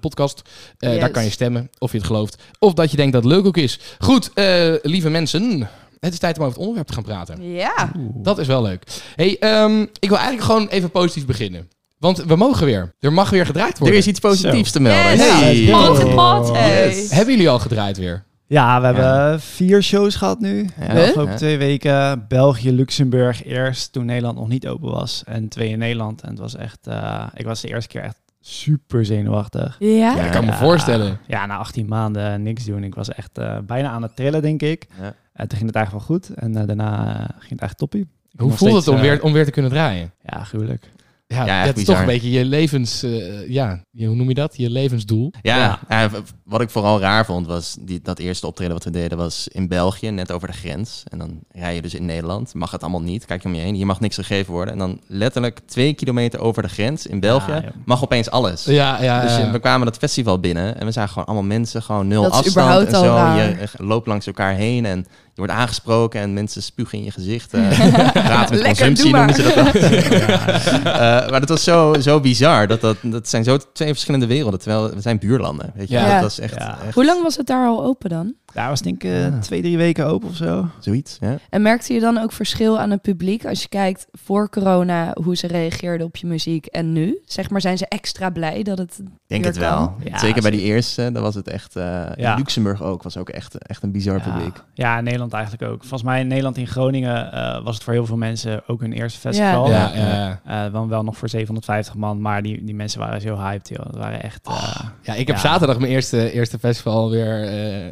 podcast. Eh,
Yes.
Daar kan je stemmen of je het gelooft. Of dat je denkt dat het leuk ook is. Goed, eh, lieve mensen. Het is tijd om over het onderwerp te gaan praten.
Ja.
Dat is wel leuk. hey, ehm, ik wil eigenlijk gewoon even positief beginnen. Want we mogen weer. Er mag weer gedraaid
Er
worden.
is iets positiefs te melden.
Yes.
Hey.
Let's go.
Pot in pot, hey.
Yes.
Hebben jullie al gedraaid weer?
Ja, we hebben vier shows gehad nu. De
Huh?
afgelopen
Ja.
twee weken. België, Luxemburg eerst, toen Nederland nog niet open was. En twee in Nederland. En het was echt, eh, ik was de eerste keer echt super zenuwachtig.
Ja?
Ja, ik kan me voorstellen.
Ja, na 18 maanden eh, niks doen. Ik was echt eh, bijna aan het trillen, denk ik.
Ja.
En toen ging het eigenlijk wel goed. En eh, daarna eh, ging het echt toppie. Ik
Hoe
nog
voelt het
steeds,
om
eh,
weer, om weer te kunnen draaien?
Ja, gruwelijk.
Ja,
Ja, echt
dat is
bizar.
toch een beetje je levens... eh, ja, je- hoe noem je dat? Je levensdoel.
Ja, eh, w- wat ik vooral raar vond was die, dat eerste optreden wat we deden was in België, net over de grens. En dan rij je dus in Nederland, mag het allemaal niet, kijk je om je heen, hier mag niks gegeven worden. En dan letterlijk twee kilometer over de grens in België
Ja, ja.
mag opeens alles.
Ja, ja.
Dus eh,
ja.
we kwamen dat festival binnen en we zagen gewoon allemaal mensen, gewoon nul
Dat is
afstand
überhaupt
en
al
zo.
raar.
Je eh, loopt langs elkaar heen en je wordt aangesproken en mensen spugen in je gezicht. eh praten met
Lekker,
consumptie
doe maar.
noemen ze dat dan. Eh, maar dat was zo, zo bizar. Dat, dat, dat zijn zo twee verschillende werelden, terwijl we zijn buurlanden. Weet je?
Ja.
wel.
Ja.
Dat was echt,
Ja.
echt
Hoe lang was het daar al open dan?
Daar was denk ik eh, twee, drie weken open of zo.
zoiets. Ja.
En merkte je dan ook verschil aan het publiek als je kijkt voor corona hoe ze reageerden op je muziek en nu? Zeg maar, zijn ze extra blij dat het
Denk
Hier
het wel.
kan.
Ja,
Zeker bij
zeker.
die eerste, dat was het echt. eh,
Ja.
in Luxemburg ook, was ook echt, echt een bizar
ja.
publiek.
Ja, in Nederland eigenlijk ook. Volgens mij in Nederland, in Groningen, eh, was het voor heel veel mensen ook hun eerste festival.
Ja.
Ja, ja.
Eh, wel, wel nog voor 750 man, maar die, die mensen waren zo hyped, joh. Dat waren echt... eh,
Ja, ik heb
Ja.
zaterdag mijn eerste, eerste festival weer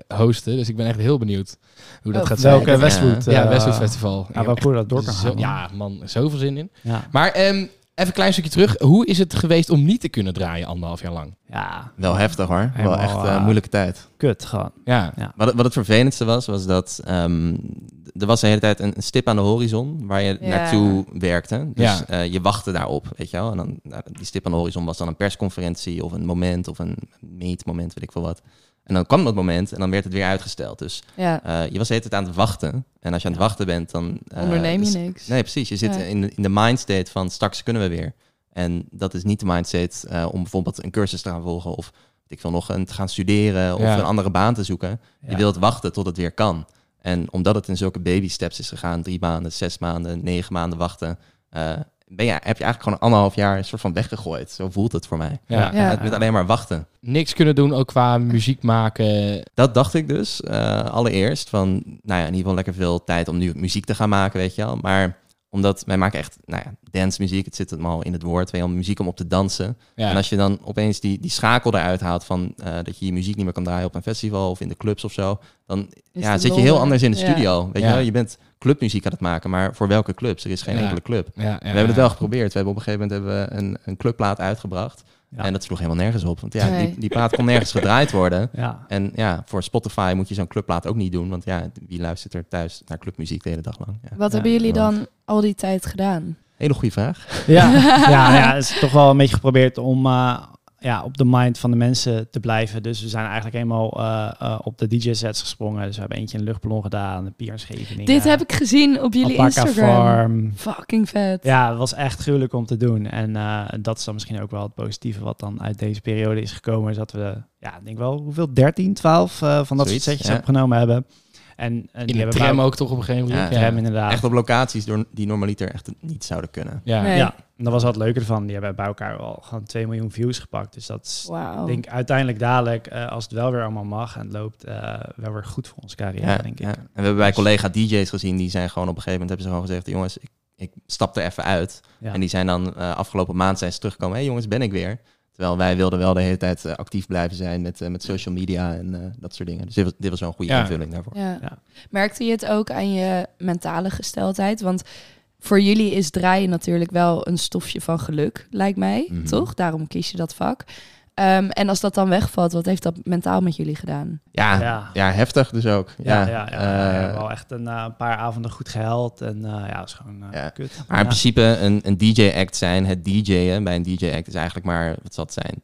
eh, hosten. Dus ik ben echt heel benieuwd hoe dat
Oh.
gaat zijn.
welke
ja.
Westwood? eh,
ja, Westwood Festival. Ik
Ja,
heb
wel
echt
cool dat door kan
zo-
gaan. man.
Ja, man, zoveel zin in.
ja.
Maar ehm, even een klein stukje terug. Hoe is het geweest om niet te kunnen draaien anderhalf jaar lang?
Ja,
Wel heftig hoor.
Helemaal,
wel echt eh,
eh,
moeilijke tijd.
kut gewoon.
Ja,
Wat, het- wat het vervelendste was, was dat ehm, d- er was de hele tijd een, een stip aan de horizon waar je
Ja.
naartoe werkte. Dus
Ja.
eh, je wachtte daarop, weet je wel. En dan, nou, die stip aan de horizon was dan een persconferentie of een moment of een meetmoment, weet ik veel wat. En dan kwam dat moment en dan werd het weer uitgesteld. Dus
ja,
eh, je was de hele tijd aan het wachten. En als je aan het wachten bent, dan... eh,
onderneem je
is-
niks?
Nee, precies. Je zit
Ja.
in, de- in de mindstate van straks kunnen we weer. En dat is niet de mindset eh, om bijvoorbeeld een cursus te gaan volgen of weet ik wil nog een, te gaan studeren of
Ja.
een andere baan te zoeken.
Ja.
Je wilt wachten tot het weer kan. En omdat het in zulke baby steps is gegaan, drie maanden, zes maanden, negen maanden wachten, eh, ben je, heb je eigenlijk gewoon anderhalf jaar een soort van weggegooid. Zo voelt het voor mij.
ja.
Ja.
Met, met alleen maar wachten.
Niks kunnen doen, ook qua muziek maken.
Dat dacht ik dus eh, allereerst. Van, nou ja, in ieder geval lekker veel tijd om nu muziek te gaan maken, weet je wel. Maar omdat wij maken echt, nou ja, dance muziek. Het zit hem al in het woord. Wij muziek om op te dansen.
Ja.
En als je dan opeens die, die schakel eruit haalt van eh, dat je je muziek niet meer kan draaien op een festival of in de clubs of zo. Dan
Is
ja,
het
zit je
lol,
heel
hè?
anders in de
Ja.
studio. Weet
Ja.
je wel, je bent clubmuziek aan het maken, maar voor welke clubs? Er is geen
Ja.
enkele club.
Ja, ja,
We hebben het wel geprobeerd. We hebben op een gegeven moment hebben we een, een clubplaat uitgebracht.
Ja.
En dat sloeg helemaal nergens op. Want ja,
Nee.
die, die plaat kon nergens gedraaid worden.
Ja.
En ja, voor Spotify moet je zo'n clubplaat ook niet doen. Want ja, wie luistert er thuis naar clubmuziek de hele dag lang? Ja.
Wat
Ja,
hebben jullie
inderdaad.
dan al die tijd gedaan?
Hele goede vraag.
Ja, ja, ja, het is toch wel een beetje geprobeerd om eh, ja, op de mind van de mensen te blijven. Dus we zijn eigenlijk eenmaal eh, eh, op de DJ-sets gesprongen. Dus we hebben eentje een luchtballon gedaan, een pier in Scheveningen.
Dit heb ik gezien op jullie
Alpaca
Instagram.
Farm.
Fucking vet.
Ja, het was echt gruwelijk om te doen. En eh, dat is dan misschien ook wel het positieve wat dan uit deze periode is gekomen. Is dat we, ja, ik denk wel, hoeveel? 13, 12 eh, van dat
Zoiets,
soort setjes
ja.
opgenomen hebben. En, en die
In de
hebben
tram
we-
ook toch op een gegeven moment.
Ja,
Tram, inderdaad.
Echt op locaties door, die normaliter echt niet zouden kunnen.
Ja.
Nee.
Ja, en dat was wat leuker van. Die hebben bij elkaar al gewoon 2 miljoen views gepakt. Dus dat is,
Wauw.
denk ik, uiteindelijk dadelijk, eh, als het wel weer allemaal mag en het loopt, eh, wel weer goed voor onze carrière, denk ik. Dus-
ja. En we hebben bij collega DJ's gezien, die zijn gewoon op een gegeven moment hebben ze gewoon gezegd, jongens, ik, ik stap er even uit.
Ja.
En die zijn dan eh, afgelopen maand zijn ze teruggekomen. Hé hey, jongens, ben ik weer. Terwijl wij wilden wel de hele tijd eh, actief blijven zijn met, eh, met social media en eh, dat soort dingen. Dus dit was, dit was wel een goede
Ja.
invulling daarvoor.
Ja.
Ja.
Merkte je het ook aan je mentale gesteldheid? Want voor jullie is draaien natuurlijk wel een stofje van geluk, lijkt mij,
Mhm.
toch? Daarom kies je dat vak. Ehm, en als dat dan wegvalt, wat heeft dat mentaal met jullie gedaan?
Ja, ja.
Ja.
heftig dus ook.
Ja, ja, ja, we
eh,
hebben wel echt een eh, paar avonden goed gehuild. En eh, ja, dat is gewoon eh,
Ja.
kut.
Maar in
Ja.
principe een, een DJ-act zijn, het DJ'en bij een DJ-act is eigenlijk maar, wat zal het zijn,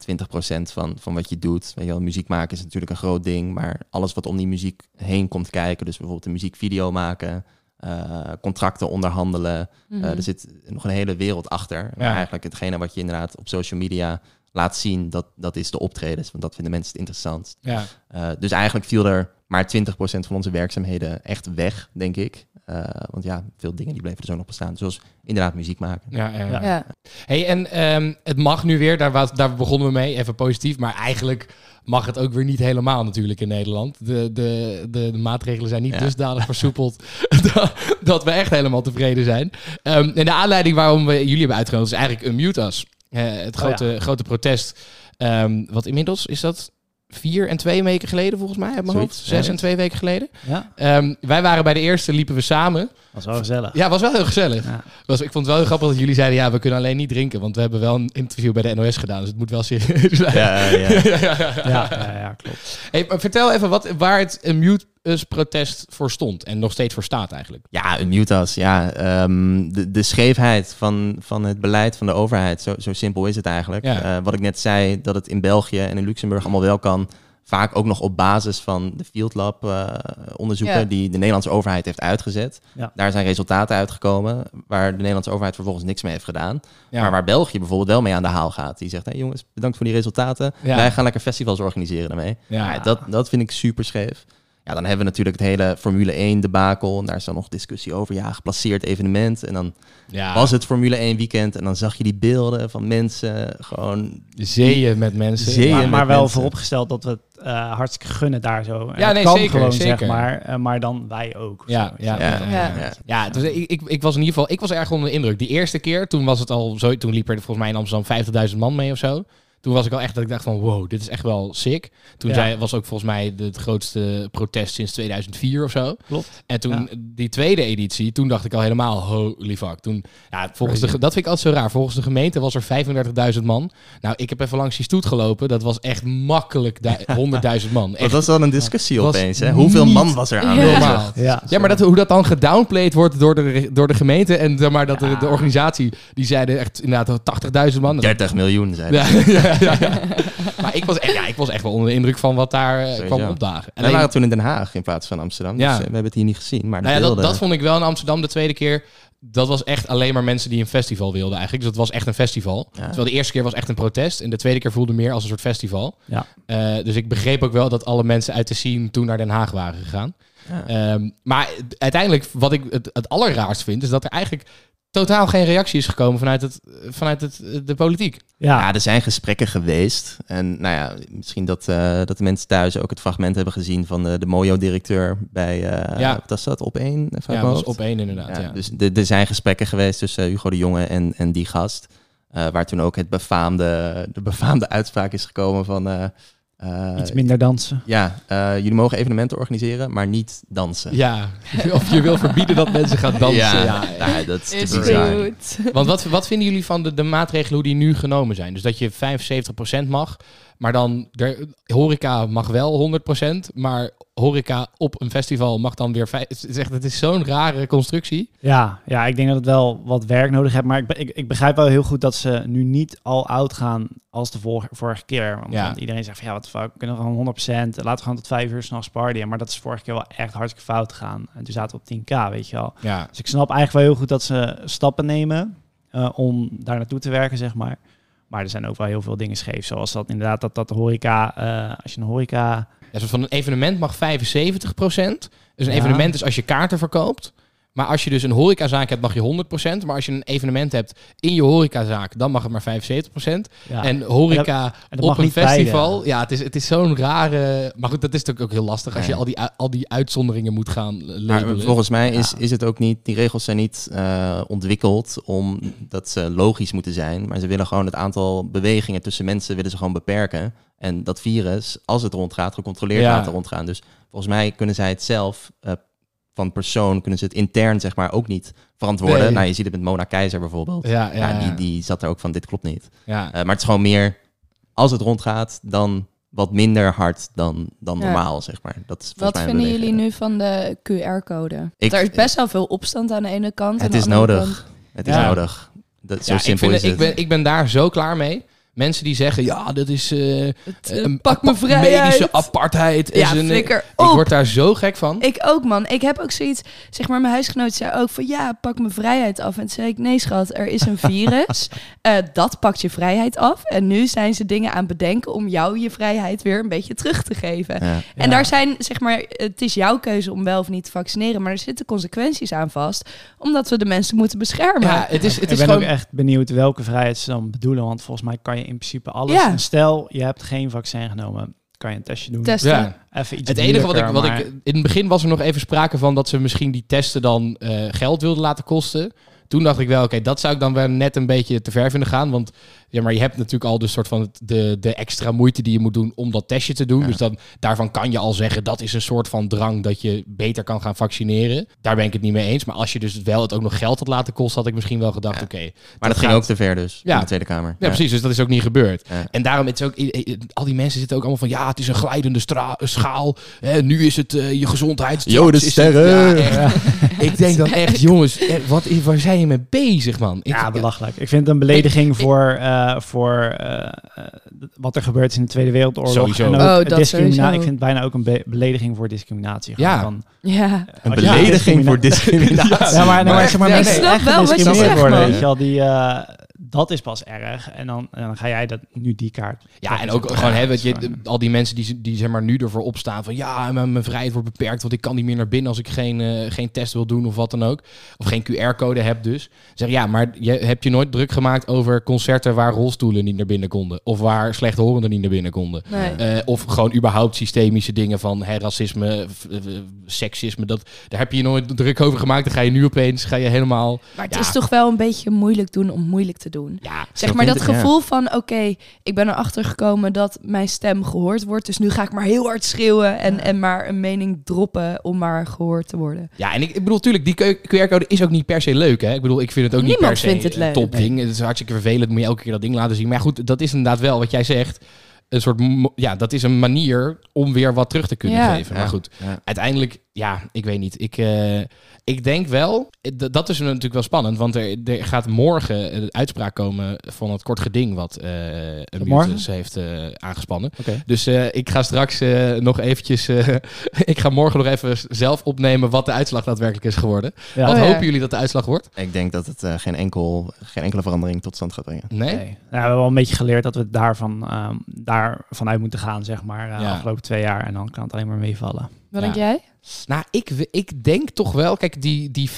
20% van, van wat je doet. Weet je wel, muziek maken is natuurlijk een groot ding, maar alles wat om die muziek heen komt kijken, dus bijvoorbeeld een muziekvideo maken, eh, contracten onderhandelen,
Mhm.
eh, er zit nog een hele wereld achter. Maar
Ja.
eigenlijk hetgene wat je inderdaad op social media laat zien, dat, dat is de optredens, want dat vinden mensen het interessant.
Ja.
Eh, dus eigenlijk viel er maar 20% van onze werkzaamheden echt weg, denk ik. Eh, want ja, veel dingen die bleven er zo nog bestaan. Zoals inderdaad muziek maken.
Ja, ja, ja.
Ja.
ja.
Hey, en ehm, het mag nu weer, daar, wa- daar begonnen we mee, even positief. Maar eigenlijk mag het ook weer niet helemaal natuurlijk in Nederland. De, de, de, de maatregelen zijn niet
Ja.
dusdanig versoepeld dat, dat we echt helemaal tevreden zijn. Ehm, en de aanleiding waarom we jullie hebben uitgenodigd is eigenlijk Unmute Us. Eh, het
Oh
grote, grote protest. Ehm, wat inmiddels is dat vier en twee weken geleden, volgens mij, uit mijn
Zoiets,
hoofd. Zes
ja.
en twee weken geleden.
Ja,
Ehm, wij waren bij de eerste, liepen we samen.
was wel gezellig.
Ja, was wel heel gezellig.
Ja.
Was, ik vond het wel heel grappig dat jullie zeiden, ja, we kunnen alleen niet drinken. Want we hebben wel een interview bij de NOS gedaan, dus het moet wel serieus zijn.
Ja, ja, ja.
Ja, ja, ja, klopt.
Hey, maar vertel even wat, waar het een mute us protest voor stond en nog steeds voor staat eigenlijk.
Ja, een mutas. Ja, ehm, de, de scheefheid van, van het beleid van de overheid. Zo, zo simpel is het eigenlijk.
Ja.
Eh, wat ik net zei, dat het in België en in Luxemburg allemaal wel kan. Vaak ook nog op basis van de Field Lab eh, onderzoeken
Ja.
die de Nederlandse overheid heeft uitgezet.
Ja.
Daar zijn resultaten uitgekomen waar de Nederlandse overheid vervolgens niks mee heeft gedaan.
Ja.
Maar waar België bijvoorbeeld wel mee aan de haal gaat. Die zegt, hé jongens, bedankt voor die resultaten.
Ja.
Wij gaan lekker festivals organiseren daarmee.
Ja.
Ja, dat, dat vind ik super scheef. Ja, dan hebben we natuurlijk het hele Formule 1 debakel. En daar is dan nog discussie over. Ja, geplaceerd evenement. En dan
Ja,
was het Formule 1 weekend. En dan zag je die beelden van mensen gewoon...
zeeën met mensen.
Zeeën.
Ja,
Maar, maar
met
wel
mensen.
vooropgesteld dat we het eh, hartstikke gunnen daar zo. En
Ja,
het
nee,
kan
zeker,
gewoon,
zeker.
zeg maar. eh, maar dan wij ook.
Ja,
Zo,
ja,
Ja,
ja.
Ja.
ja.
Ja, dus ik, ik, ik was in ieder geval ik was erg onder de indruk. Die eerste keer, toen was het al zo, toen liep er volgens mij in Amsterdam 50.000 man mee of zo. Toen was ik al echt dat ik dacht van wow, dit is echt wel sick. Toen
Ja.
zei, was ook volgens mij de- het grootste protest sinds 2004 of zo.
Klopt.
En toen
Ja.
die tweede editie, toen dacht ik al helemaal holy fuck. Toen, ja, volgens de, ge- dat vind ik altijd zo raar. Volgens de gemeente was er 35.000 man. Nou, ik heb even langs die stoet gelopen. Dat was echt makkelijk du- 100.000 man.
Dat
Echt
was wel een discussie
Was
opeens. Hè? Hoeveel
niet
man was er aan?
normaal.
Ja.
Ja, maar dat, hoe dat dan gedownplayed wordt door de, door de gemeente en zeg maar, dat de, de organisatie, die zeiden echt inderdaad 80.000 man.
30 miljoen, zei
Ja, ja, ja, ja. Maar ik was, echt, ja, ik was echt wel onder de indruk van wat daar eh,
Sowieso.
kwam opdagen.
En
Alleen-
wij waren toen in Den Haag in plaats van Amsterdam.
Ja.
Dus eh, we hebben het hier niet gezien. Maar de
nou ja, dat,
beelden...
dat vond ik wel in Amsterdam de tweede keer. Dat was echt alleen maar mensen die een festival wilden eigenlijk. Dus dat was echt een festival.
Ja.
Terwijl de eerste keer was echt een protest. En de tweede keer voelde meer als een soort festival.
Ja.
Eh, dus ik begreep ook wel dat alle mensen uit de scene toen naar Den Haag waren gegaan.
Ja.
Ehm, maar uiteindelijk, wat ik het, het allerraarst vind, is dat er eigenlijk totaal geen reactie is gekomen vanuit, het, vanuit het, eh, de politiek.
Ja.
Ja, er zijn gesprekken geweest. En nou ja, misschien dat, eh, dat de mensen thuis ook het fragment hebben gezien van de, de Mojo-directeur bij... eh,
Ja.
Wat was dat? Op één? Even uit
Ja,
mijn
dat was
hoofd?
op één inderdaad.
Ja,
Ja,
Dus de- er zijn gesprekken geweest tussen Hugo de Jonge en, en die gast. eh, waar toen ook het befaamde, de befaamde uitspraak is gekomen van... eh, eh,
Iets minder dansen.
Ja, eh, jullie mogen evenementen organiseren, maar niet dansen.
Ja. of je wil verbieden dat mensen gaan dansen. eh. Ja.
nou, dat is te
Is
bizar.
goed.
Want wat, wat vinden jullie van de, de maatregelen hoe die nu genomen zijn? Dus dat je 75% mag, maar dan er, horeca mag wel 100%, maar horeca op een festival mag dan weer... vijf- Het is echt- het is zo'n rare constructie.
Ja, ja, ik denk dat het wel wat werk nodig heeft. Maar ik, be- ik, ik begrijp wel heel goed dat ze nu niet al out gaan als de vor- vorige keer. Want,
Ja.
want iedereen zegt van ja, wat fuck, we kunnen gewoon 100%. Laten we gewoon tot vijf uur s'nachts partyen. Maar dat is vorige keer wel echt hartstikke fout gegaan. En toen zaten we op 10k, weet je wel.
Ja,
Dus ik snap eigenlijk wel heel goed dat ze stappen nemen eh, om daar naartoe te werken, zeg maar. Maar er zijn ook wel heel veel dingen scheef. Zoals dat inderdaad, dat, dat de horeca, eh, als je een horeca...
Ja, zo van een evenement mag 75%. Dus een
Ja.
evenement is als je kaarten verkoopt. Maar als je dus een horecazaak hebt, mag je 100%. Maar als je een evenement hebt in je horecazaak, dan mag het maar 75%.
Ja,
En horeca
dat mag
op een
niet
festival,
beide.
ja, het is, het is zo'n rare... Maar goed, dat is natuurlijk ook heel lastig als je
Ja.
al die, u- al die uitzonderingen moet gaan
Maar eh,
labelen.
volgens mij is, is het ook niet, die regels zijn niet eh, ontwikkeld omdat ze logisch moeten zijn. Maar ze willen gewoon het aantal bewegingen tussen mensen willen ze gewoon beperken. En dat virus, als het rondgaat, gecontroleerd
Ja.
laten rondgaan. Dus volgens mij kunnen zij het zelf eh, van persoon, kunnen ze het intern zeg maar ook niet verantwoorden.
Nee.
Nou, je ziet het met Mona Keizer bijvoorbeeld.
ja, ja,
Ja,
ja,
die, die zat er ook van, dit klopt niet.
ja.
Eh, maar het is gewoon meer, als het rondgaat, dan wat minder hard dan, dan
Ja.
normaal, zeg maar. Dat is volgens
Wat
mij een
vinden jullie
beweegreden.
nu van de QR-code?
Ik-
er is best wel veel opstand aan de ene kant.
Het
aan
is
de andere
nodig.
kant-
Het is
Ja.
nodig. Dat, zo
Ja,
simpel
ik,
is
vind,
het.
ik, ben, ik ben daar zo klaar mee. Mensen die zeggen, ja, dat is eh,
Het, eh,
een
pak me
apa-
vrij
medische apartheid. is
Ja,
een-
flikker
ik
op.
word daar zo gek van.
Ik ook, man. Ik heb ook zoiets. Zeg maar, mijn huisgenoot zei ook van ja, pak mijn vrijheid af. En toen zei ik: nee, schat, er is een virus. Eh, dat pakt je vrijheid af. En nu zijn ze dingen aan het bedenken om jou je vrijheid weer een beetje terug te geven.
Ja.
Ja.
En daar zijn, zeg maar, het is jouw keuze om wel of niet te vaccineren. Maar er zitten consequenties aan vast, omdat we de mensen moeten beschermen.
Ja, het is, het
ik
is
ben
gewoon...
ook echt benieuwd welke vrijheid ze dan bedoelen. Want volgens mij kan je in principe alles...
Ja.
En stel, je hebt geen vaccin genomen. Kan je een testje doen.
Testen.
ja.
Even iets
Het enige wat ik,
moeilijker,
wat
maar-
ik. In het begin was er nog even sprake van dat ze misschien die testen dan eh, geld wilden laten kosten. Toen dacht ik wel, oké, dat zou ik dan wel net een beetje te ver vinden gaan. Want ja, maar je hebt natuurlijk al de soort van het- de, de extra moeite die je moet doen om dat testje te doen.
Ja.
Dus dan, daarvan kan je al zeggen, dat is een soort van drang dat je beter kan gaan vaccineren. Daar ben ik het niet mee eens. Maar als je dus wel het ook nog geld had laten kosten, had ik misschien wel gedacht,
Ja.
oké.
Maar dat, ging
gaat-
ook te ver dus,
Ja.
in de Tweede Kamer.
Ja, precies. Dus dat is ook niet gebeurd.
Ja.
En daarom, het is ook, i- i- al die mensen zitten ook allemaal van... ja, het is een glijdende stra- eh, schaal. Hè, nu is het eh, je gezondheid. straks
Yo, de
is het-
sterren.
Ja, echt. Ik denk dan echt, jongens, eh, wat, is- waar zijn je mee bezig, man? Ik-
Ja, belachelijk. Ik vind het een belediging voor, eh, voor eh, eh, wat er gebeurd is in de Tweede Wereldoorlog.
Sowieso.
En ook
Oh, dat
discrimina-
sowieso.
Ik vind het bijna ook een be- belediging voor discriminatie. Gewoon
Ja.
van-
Ja.
Een
als je-
belediging voor discriminatie.
Ja,
Maar
maar, maar,
echt,
zeg maar
ja,
mensen
ik
snap
echt
wel wat je
gediscrimineerd
zegt,
worden,
man.
weet je wel, die, eh, dat is pas erg. En dan, en dan ga jij dat, nu die kaart.
Ja,
trekken,
en
zeg
ook
maar.
gewoon, hè,
Ja,
weet je,
dat is gewoon-
d- al die mensen die, ze- die zeg maar, nu ervoor opstaan van... ja, mijn, mijn vrijheid wordt beperkt, want ik kan niet meer naar binnen... als ik geen, eh, geen test wil doen of wat dan ook. Of geen QR-code heb dus. Zeg, ja, maar je, heb je nooit druk gemaakt over concerten... waar rolstoelen niet naar binnen konden? Of waar slechthorenden niet naar binnen konden?
Nee.
Eh, of gewoon überhaupt systemische dingen van hè, racisme, f- eh, seksisme. Dat, daar heb je je nooit druk over gemaakt. Dan ga je nu opeens ga je helemaal...
Maar het
Ja.
is toch wel een beetje moeilijk doen om moeilijk te doen.
Ja,
Zeg maar dat
vind ik, ja.
gevoel van, oké, ik ben erachter gekomen dat mijn stem gehoord wordt. Dus nu ga ik maar heel hard schreeuwen en, en maar een mening droppen om maar gehoord te worden.
ja en ik, ik bedoel natuurlijk, die QR-code is ook niet per se leuk. Hè? Ik bedoel, ik vind het ook niet
Niemand
per se
vindt het
een
leuk.
topding. Het is hartstikke vervelend, moet je elke keer dat ding laten zien. Maar goed, dat is inderdaad wel wat jij zegt. Een soort, mo- ja, dat is een manier om weer wat terug te kunnen
Ja.
geven. Maar goed,
Ja.
uiteindelijk, ja, ik weet niet. Ik, eh, ik denk wel, eh, d- dat is natuurlijk wel spannend, want er, er gaat morgen een uitspraak komen van het kort geding wat eh Mutus
morgen?
heeft eh, aangespannen.
Oké.
Dus eh, ik ga straks eh, nog eventjes, eh, ik ga morgen nog even s- zelf opnemen wat de uitslag daadwerkelijk is geworden.
Ja.
wat
Oh ja.
hopen jullie dat de uitslag wordt?
Ik denk dat het eh, geen, enkel, geen enkele verandering tot stand gaat brengen.
Nee?
Nee. Nou, we hebben wel een beetje geleerd dat we daarvan, ehm daar vanuit moeten gaan, zeg maar, eh,
Ja.
afgelopen twee jaar. En dan kan het alleen maar meevallen.
Wat
Ja.
denk jij?
Nou, ik, we- ik denk toch wel, kijk, die, die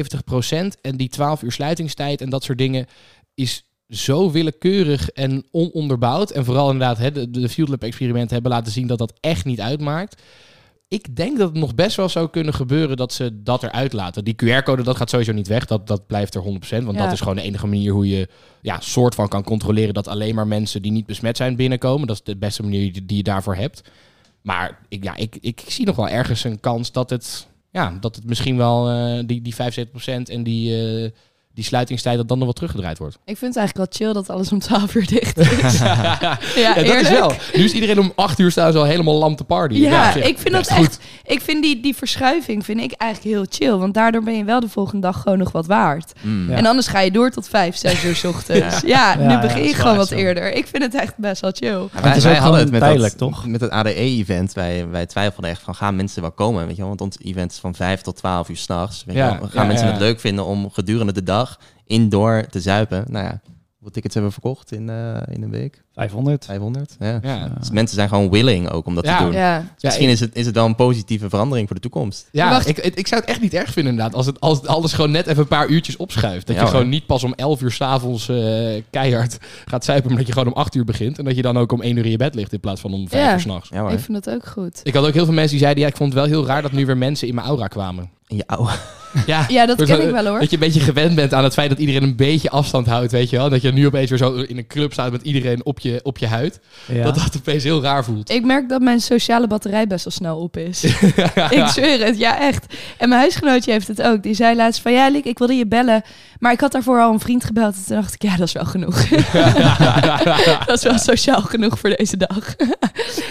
75% en die 12 uur sluitingstijd en dat soort dingen is zo willekeurig en ononderbouwd. En vooral inderdaad, hè, de, de Field Lab experimenten hebben laten zien dat dat echt niet uitmaakt. Ik denk dat het nog best wel zou kunnen gebeuren dat ze dat eruit laten. Die QR-code, dat gaat sowieso niet weg. Dat, dat blijft er 100%. Want
Ja.
dat is gewoon de enige manier hoe je ja, soort van kan controleren... dat alleen maar mensen die niet besmet zijn binnenkomen. Dat is de beste manier die- die je daarvoor hebt. Maar ik, ja, ik, ik zie nog wel ergens een kans dat het, ja, dat het misschien wel eh, die, die 75% en die, eh, die sluitingstijd dat dan nog wel teruggedraaid wordt.
Ik vind het eigenlijk wel chill dat alles om 12 uur dicht is. ja,
Ja, dat is
eerlijk.
wel. Nu is iedereen om 8 uur staan al helemaal lam te party.
Ja,
op zich
ik vind
best
dat
goed.
echt. Ik vind die, die verschuiving vind ik eigenlijk heel chill. Want daardoor ben je wel de volgende dag gewoon nog wat waard.
Mm.
Ja.
En anders ga je door tot 5, 6 uur 's ochtends. Ja,
Ja, ja,
nu begin
dat is
je
wel
gewoon
echt
wat
zo.
eerder. Ik vind het echt best wel chill.
Ja,
Maar het
wij
is
wij
ook
hadden het
gewoon
met
tijdelijk,
dat,
toch?
Met het ADE-event. Wij, wij twijfelden echt van, gaan mensen wel komen? Weet je wel? Want ons event is van 5 tot 12 uur s'nachts. Gaan
Ja, ja,
mensen
ja.
het leuk vinden om gedurende de dag indoor te zuipen? Nou ja, hoeveel tickets hebben we verkocht in, eh, in een week?
500.
500? Ja.
Ja.
Dus mensen zijn gewoon willing ook om dat
Ja.
te doen.
Ja.
Ja,
Misschien
ik-
is, het, is het wel een positieve verandering voor de toekomst.
Ja,
Wacht.
Ik, ik, ik zou het echt niet erg vinden inderdaad. Als, het, als het alles gewoon net even een paar uurtjes opschuift. Dat
Ja,
je
hoor.
gewoon niet pas om 11 uur s'avonds eh keihard gaat zuipen. Maar dat je gewoon om 8 uur begint. En dat je dan ook om 1 uur in je bed ligt in plaats van om 5
Ja.
uur s'nachts.
Ja hoor.
Ik vind dat ook goed.
Ik had ook heel veel mensen die zeiden, ja, ik vond het wel heel raar dat nu weer mensen in mijn aura kwamen.
In je oude...
Ja,
Ja, dat
Dus
ken
dat-
ik wel hoor.
Dat je een beetje gewend bent aan het feit dat iedereen een beetje afstand houdt, weet je wel. Dat je nu opeens weer zo in een club staat met iedereen op je, op je huid.
Ja.
Dat dat opeens heel raar voelt.
Ik merk dat mijn sociale batterij best wel snel op is. ik zweer het, ja echt. En mijn huisgenootje heeft het ook. Die zei laatst van, ja Liek, ik wilde je bellen. Maar ik had daarvoor al een vriend gebeld. En toen dacht ik, ja, dat is wel genoeg. dat is wel sociaal genoeg voor deze dag.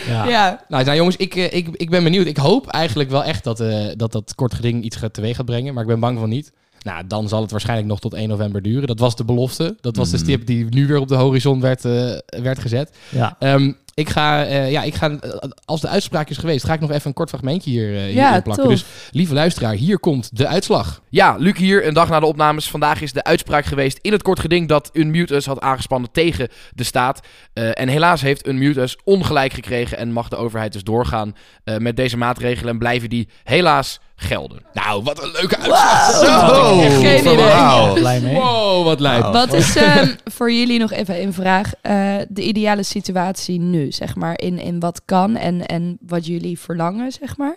Ja.
ja.
Nou, nou jongens, ik, eh, ik, ik ben benieuwd. Ik hoop eigenlijk wel echt dat eh, dat, dat kort geding iets gaat, teweeg gaat brengen. Maar ik ben bang van niet. Nou, dan zal het waarschijnlijk nog tot 1 november duren. Dat was de belofte. Dat was de
Mhm.
stip die nu weer op de horizon werd, eh, werd gezet.
Ja.
Ehm, ik ga, eh, ja, ik ga, eh, als de uitspraak is geweest, ga ik nog even een kort fragmentje hier, eh, hierin
Ja,
plakken.
tof.
Dus lieve luisteraar, hier komt de uitslag.
Ja, Luc hier, een dag na de opnames. Vandaag is de uitspraak geweest in het kort geding dat Unmute Us had aangespannen tegen de staat. Eh, en helaas heeft Unmute Us ongelijk gekregen en mag de overheid dus doorgaan eh, met deze maatregelen en blijven die helaas gelden.
Nou, wat een leuke uitslag.
Wow.
Zo.
Geen idee.
Wauw.
Blij mee.
Wow, wat lijp.
Wauw.
Wat is ehm, voor jullie nog even een vraag? eh, de ideale situatie nu? nu, zeg maar, in, in wat kan en, en wat jullie verlangen, zeg maar.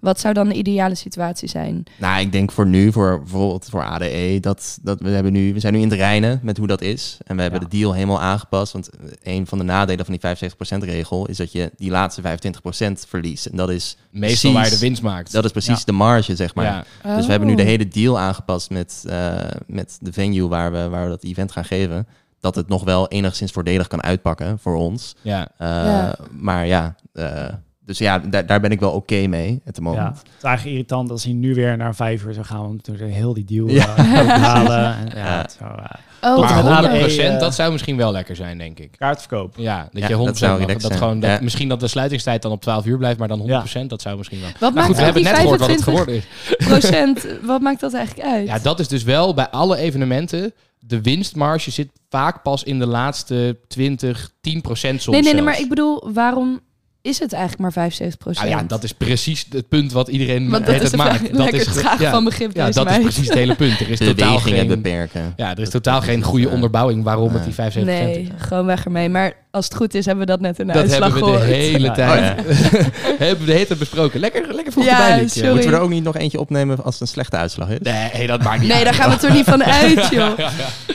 Wat zou dan de ideale situatie zijn?
Nou, ik denk voor nu, voor bijvoorbeeld voor ADE, dat, dat we, hebben nu, we zijn nu in het reinen met hoe dat is. En we hebben
Ja.
de deal helemaal aangepast. Want eh, een van de nadelen van die 75%-regel is dat je die laatste 25% verliest. En dat is
Meestal
Precies.
waar je de winst maakt.
Dat is precies
Ja.
de marge, zeg maar.
Ja.
Dus we hebben nu de
Oh.
hele deal aangepast met, eh, met de venue waar we, waar we dat event gaan geven. Dat het nog wel enigszins voordelig kan uitpakken voor ons.
Ja.
Eh,
Ja.
Maar ja, eh, dus ja, daar, daar ben ik wel oké mee at the
Ja,
moment.
het is eigenlijk irritant als hij nu weer naar vijf uur zou gaan om door heel die deal
Ja.
eh, te halen. En, ja,
Ja.
het zou, eh,
Oh,
Tot en met
Maar 100%,
ADE, eh,
dat zou misschien wel lekker zijn, denk ik.
kaartverkoop.
Ja, dat
Ja,
je 100%
dat zou
mag-
relaxed
dat
zijn.
gewoon dat,
Ja.
Misschien dat de sluitingstijd dan op 12 uur blijft, maar dan 100%, dat zou misschien wel.
wat
Maar Nou goed,
maakt
we hebben net gehoord
dat
wat
die
het geworden is.
25% wat maakt dat eigenlijk uit?
Ja, dat is dus wel bij alle evenementen. De winstmarge zit vaak pas in de laatste 20, 10 procent soms.
nee, nee, nee, maar
zelfs.
ik bedoel, waarom is het eigenlijk maar 75%?
Nou ja, dat is precies het punt wat iedereen weet
Want dat is
het
een
maakt. Dat is, ge-
vraag
ja,
van begrip
ja,
deze
dat is
meid.
precies het hele punt. Er is totaal
Bewegingen
geen,
beperken.
ja, er is totaal geen goede
eh,
onderbouwing waarom het
eh,
die 75 is.
Nee, gewoon weg ermee. Maar als het goed is, hebben we dat net in de
Dat
uitslag
hebben we de
gehoord.
hele
Ja.
tijd hebben we de hele tijd besproken. Lekker, lekker vroeg
Ja,
erbij, Liek.
sorry.
Moeten we er ook niet nog eentje opnemen als het een slechte uitslag is?
Nee, dat maakt niet
Nee,
uit.
daar gaan we toch niet van uit, joh.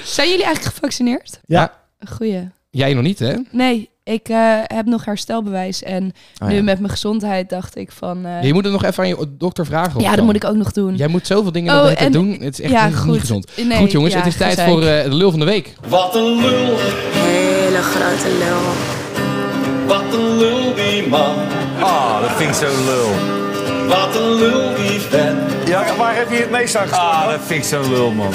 Zijn jullie eigenlijk gevaccineerd?
Ja.
Goeie.
Jij nog niet, hè?
Nee, ik eh, heb nog herstelbewijs. En
Oh,
nu
ja.
met mijn gezondheid dacht ik van... eh,
Je moet het nog even aan je dokter vragen. of
ja, dat
dan.
moet ik ook nog doen.
Jij moet zoveel dingen
Oh,
nog beter
en-
doen. Het is echt
ja,
niet, niet gezond.
Nee,
Goed jongens,
ja,
het is tijd
gezeik.
voor eh, de lul van de week.
Wat een lul,
Hele grote lul.
wat een lul die man.
Ah, dat vind ik zo lul.
Wat een lul die vent.
Ja, waar heb je het meest aan gestaan? Ah, dat vind ik zo lul, man.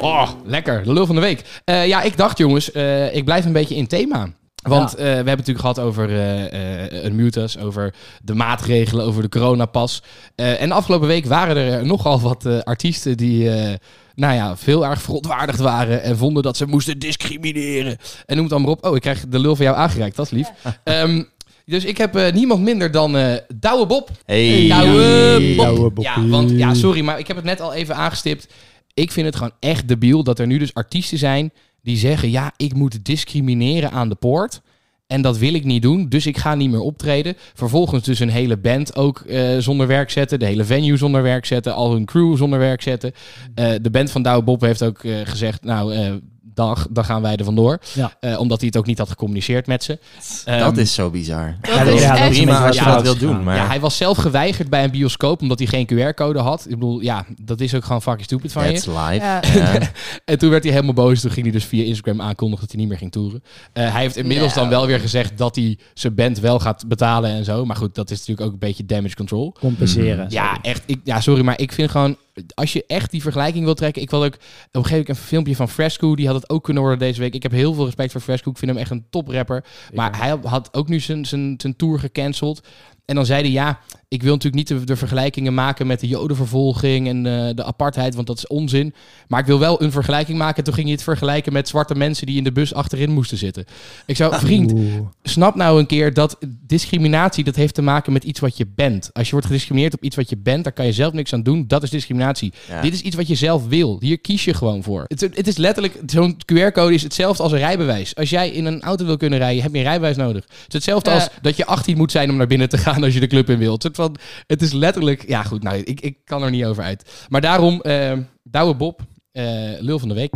Oh, lekker. De lul van de week. Eh, ja, ik dacht jongens, eh, ik blijf een beetje in thema. Want eh, we hebben het natuurlijk gehad over eh, eh, een mutas, over de maatregelen, over de coronapas. Eh en de afgelopen week waren er nogal wat eh, artiesten die, eh, nou ja, veel erg verontwaardigd waren en vonden dat ze moesten discrimineren. En noem het dan maar op. Oh, ik krijg de lul van jou aangereikt, dat is lief. Ehm, dus ik heb eh, niemand minder dan eh Douwe Bob.
Hey.
Douwe Bob.
Douwe Bob.
Ja, want, ja, sorry, maar ik heb het net al even aangestipt. Ik vind het gewoon echt debiel dat er nu dus artiesten zijn die zeggen... ja, ik moet discrimineren aan de poort. En dat wil ik niet doen, dus ik ga niet meer optreden. Vervolgens dus een hele band ook eh, zonder werk zetten. De hele venue zonder werk zetten. Al hun crew zonder werk zetten. Eh, de band van Douwe Bob heeft ook eh, gezegd... nou, eh, dag, dan gaan wij er vandoor.
Ja.
Eh, omdat hij het ook niet had gecommuniceerd met ze.
Dat
Ehm,
is zo bizar.
Ja, dat is
echt
Prima
een beetje
als je
fout
dat wil
gegaan.
doen, maar
Ja, hij was zelf geweigerd bij een bioscoop omdat hij geen QR-code had. Ik bedoel, ja, dat is ook gewoon fucking stupid van
that's
je.
live.
Ja.
Ja.
En toen werd hij helemaal boos. Toen ging hij dus via Instagram aankondigen dat hij niet meer ging toeren. Eh, hij heeft inmiddels dan wel weer gezegd dat hij zijn band wel gaat betalen en zo. Maar goed, dat is natuurlijk ook een beetje damage control.
Compenseren.
Ja, echt. Ik, ja, sorry, maar ik vind gewoon... Als je echt die vergelijking wil trekken... Ik wil ook... Op een gegeven moment een filmpje van Fresco. Die had het ook kunnen worden deze week. Ik heb heel veel respect voor Fresco. Ik vind hem echt een toprapper. Maar hij had ook nu zijn, zijn, zijn tour gecanceld. En dan zei hij, ja, ik wil natuurlijk niet de, de vergelijkingen maken met de jodenvervolging en eh, de apartheid, want dat is onzin. Maar ik wil wel een vergelijking maken. Toen ging hij het vergelijken met zwarte mensen die in de bus achterin moesten zitten. Ik zou, vriend,
Oeh.
snap nou een keer dat discriminatie dat heeft te maken met iets wat je bent. Als je wordt gediscrimineerd op iets wat je bent, daar kan je zelf niks aan doen. Dat is discriminatie.
Ja.
Dit is iets wat je zelf wil. Hier kies je gewoon voor. Het, het is letterlijk, zo'n QR-code is hetzelfde als een rijbewijs. Als jij in een auto wil kunnen rijden, heb je een rijbewijs nodig. Het is hetzelfde
Ja.
als dat je 18 moet zijn om naar binnen te gaan als je de club in wilt. Het, van, het is letterlijk, ja goed, nou, ik, ik kan er niet over uit. Maar daarom, eh Douwe Bob, eh, lul van de week.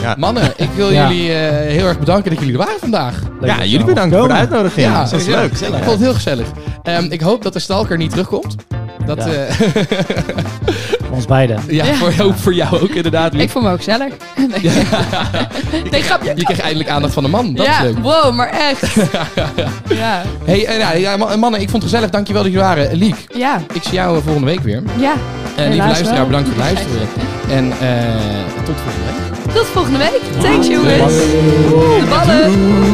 Ja.
Mannen, ik wil
Ja.
jullie eh, heel erg bedanken dat jullie er waren vandaag.
Leuk
Ja,
dat je
jullie
allemaal
bedankt voor de
komen.
uitnodiging.
Ja,
dat is
ja,
leuk.
Ik vond het heel gezellig. Ehm, ik hoop dat de stalker niet terugkomt. Dat,
Ja.
eh,
Voor ons beiden.
ja,
Ja.
Voor, ook voor jou ook inderdaad.
Ik
Lief.
vond me ook sneller. Nee, nee grapje.
Je kreeg eindelijk aandacht van de man. Dat
ja,
is leuk.
wow, maar echt. ja,
Hey, eh, nou, ja, ma- mannen, ik vond het gezellig. Dankjewel dat jullie waren. Liek,
ja,
ik zie jou eh, volgende week weer.
ja.
En lieve
Helaas
luisteraar,
wel.
bedankt voor het luisteren. En eh, tot volgende week.
Tot volgende week. Thanks, jongens. De ballen.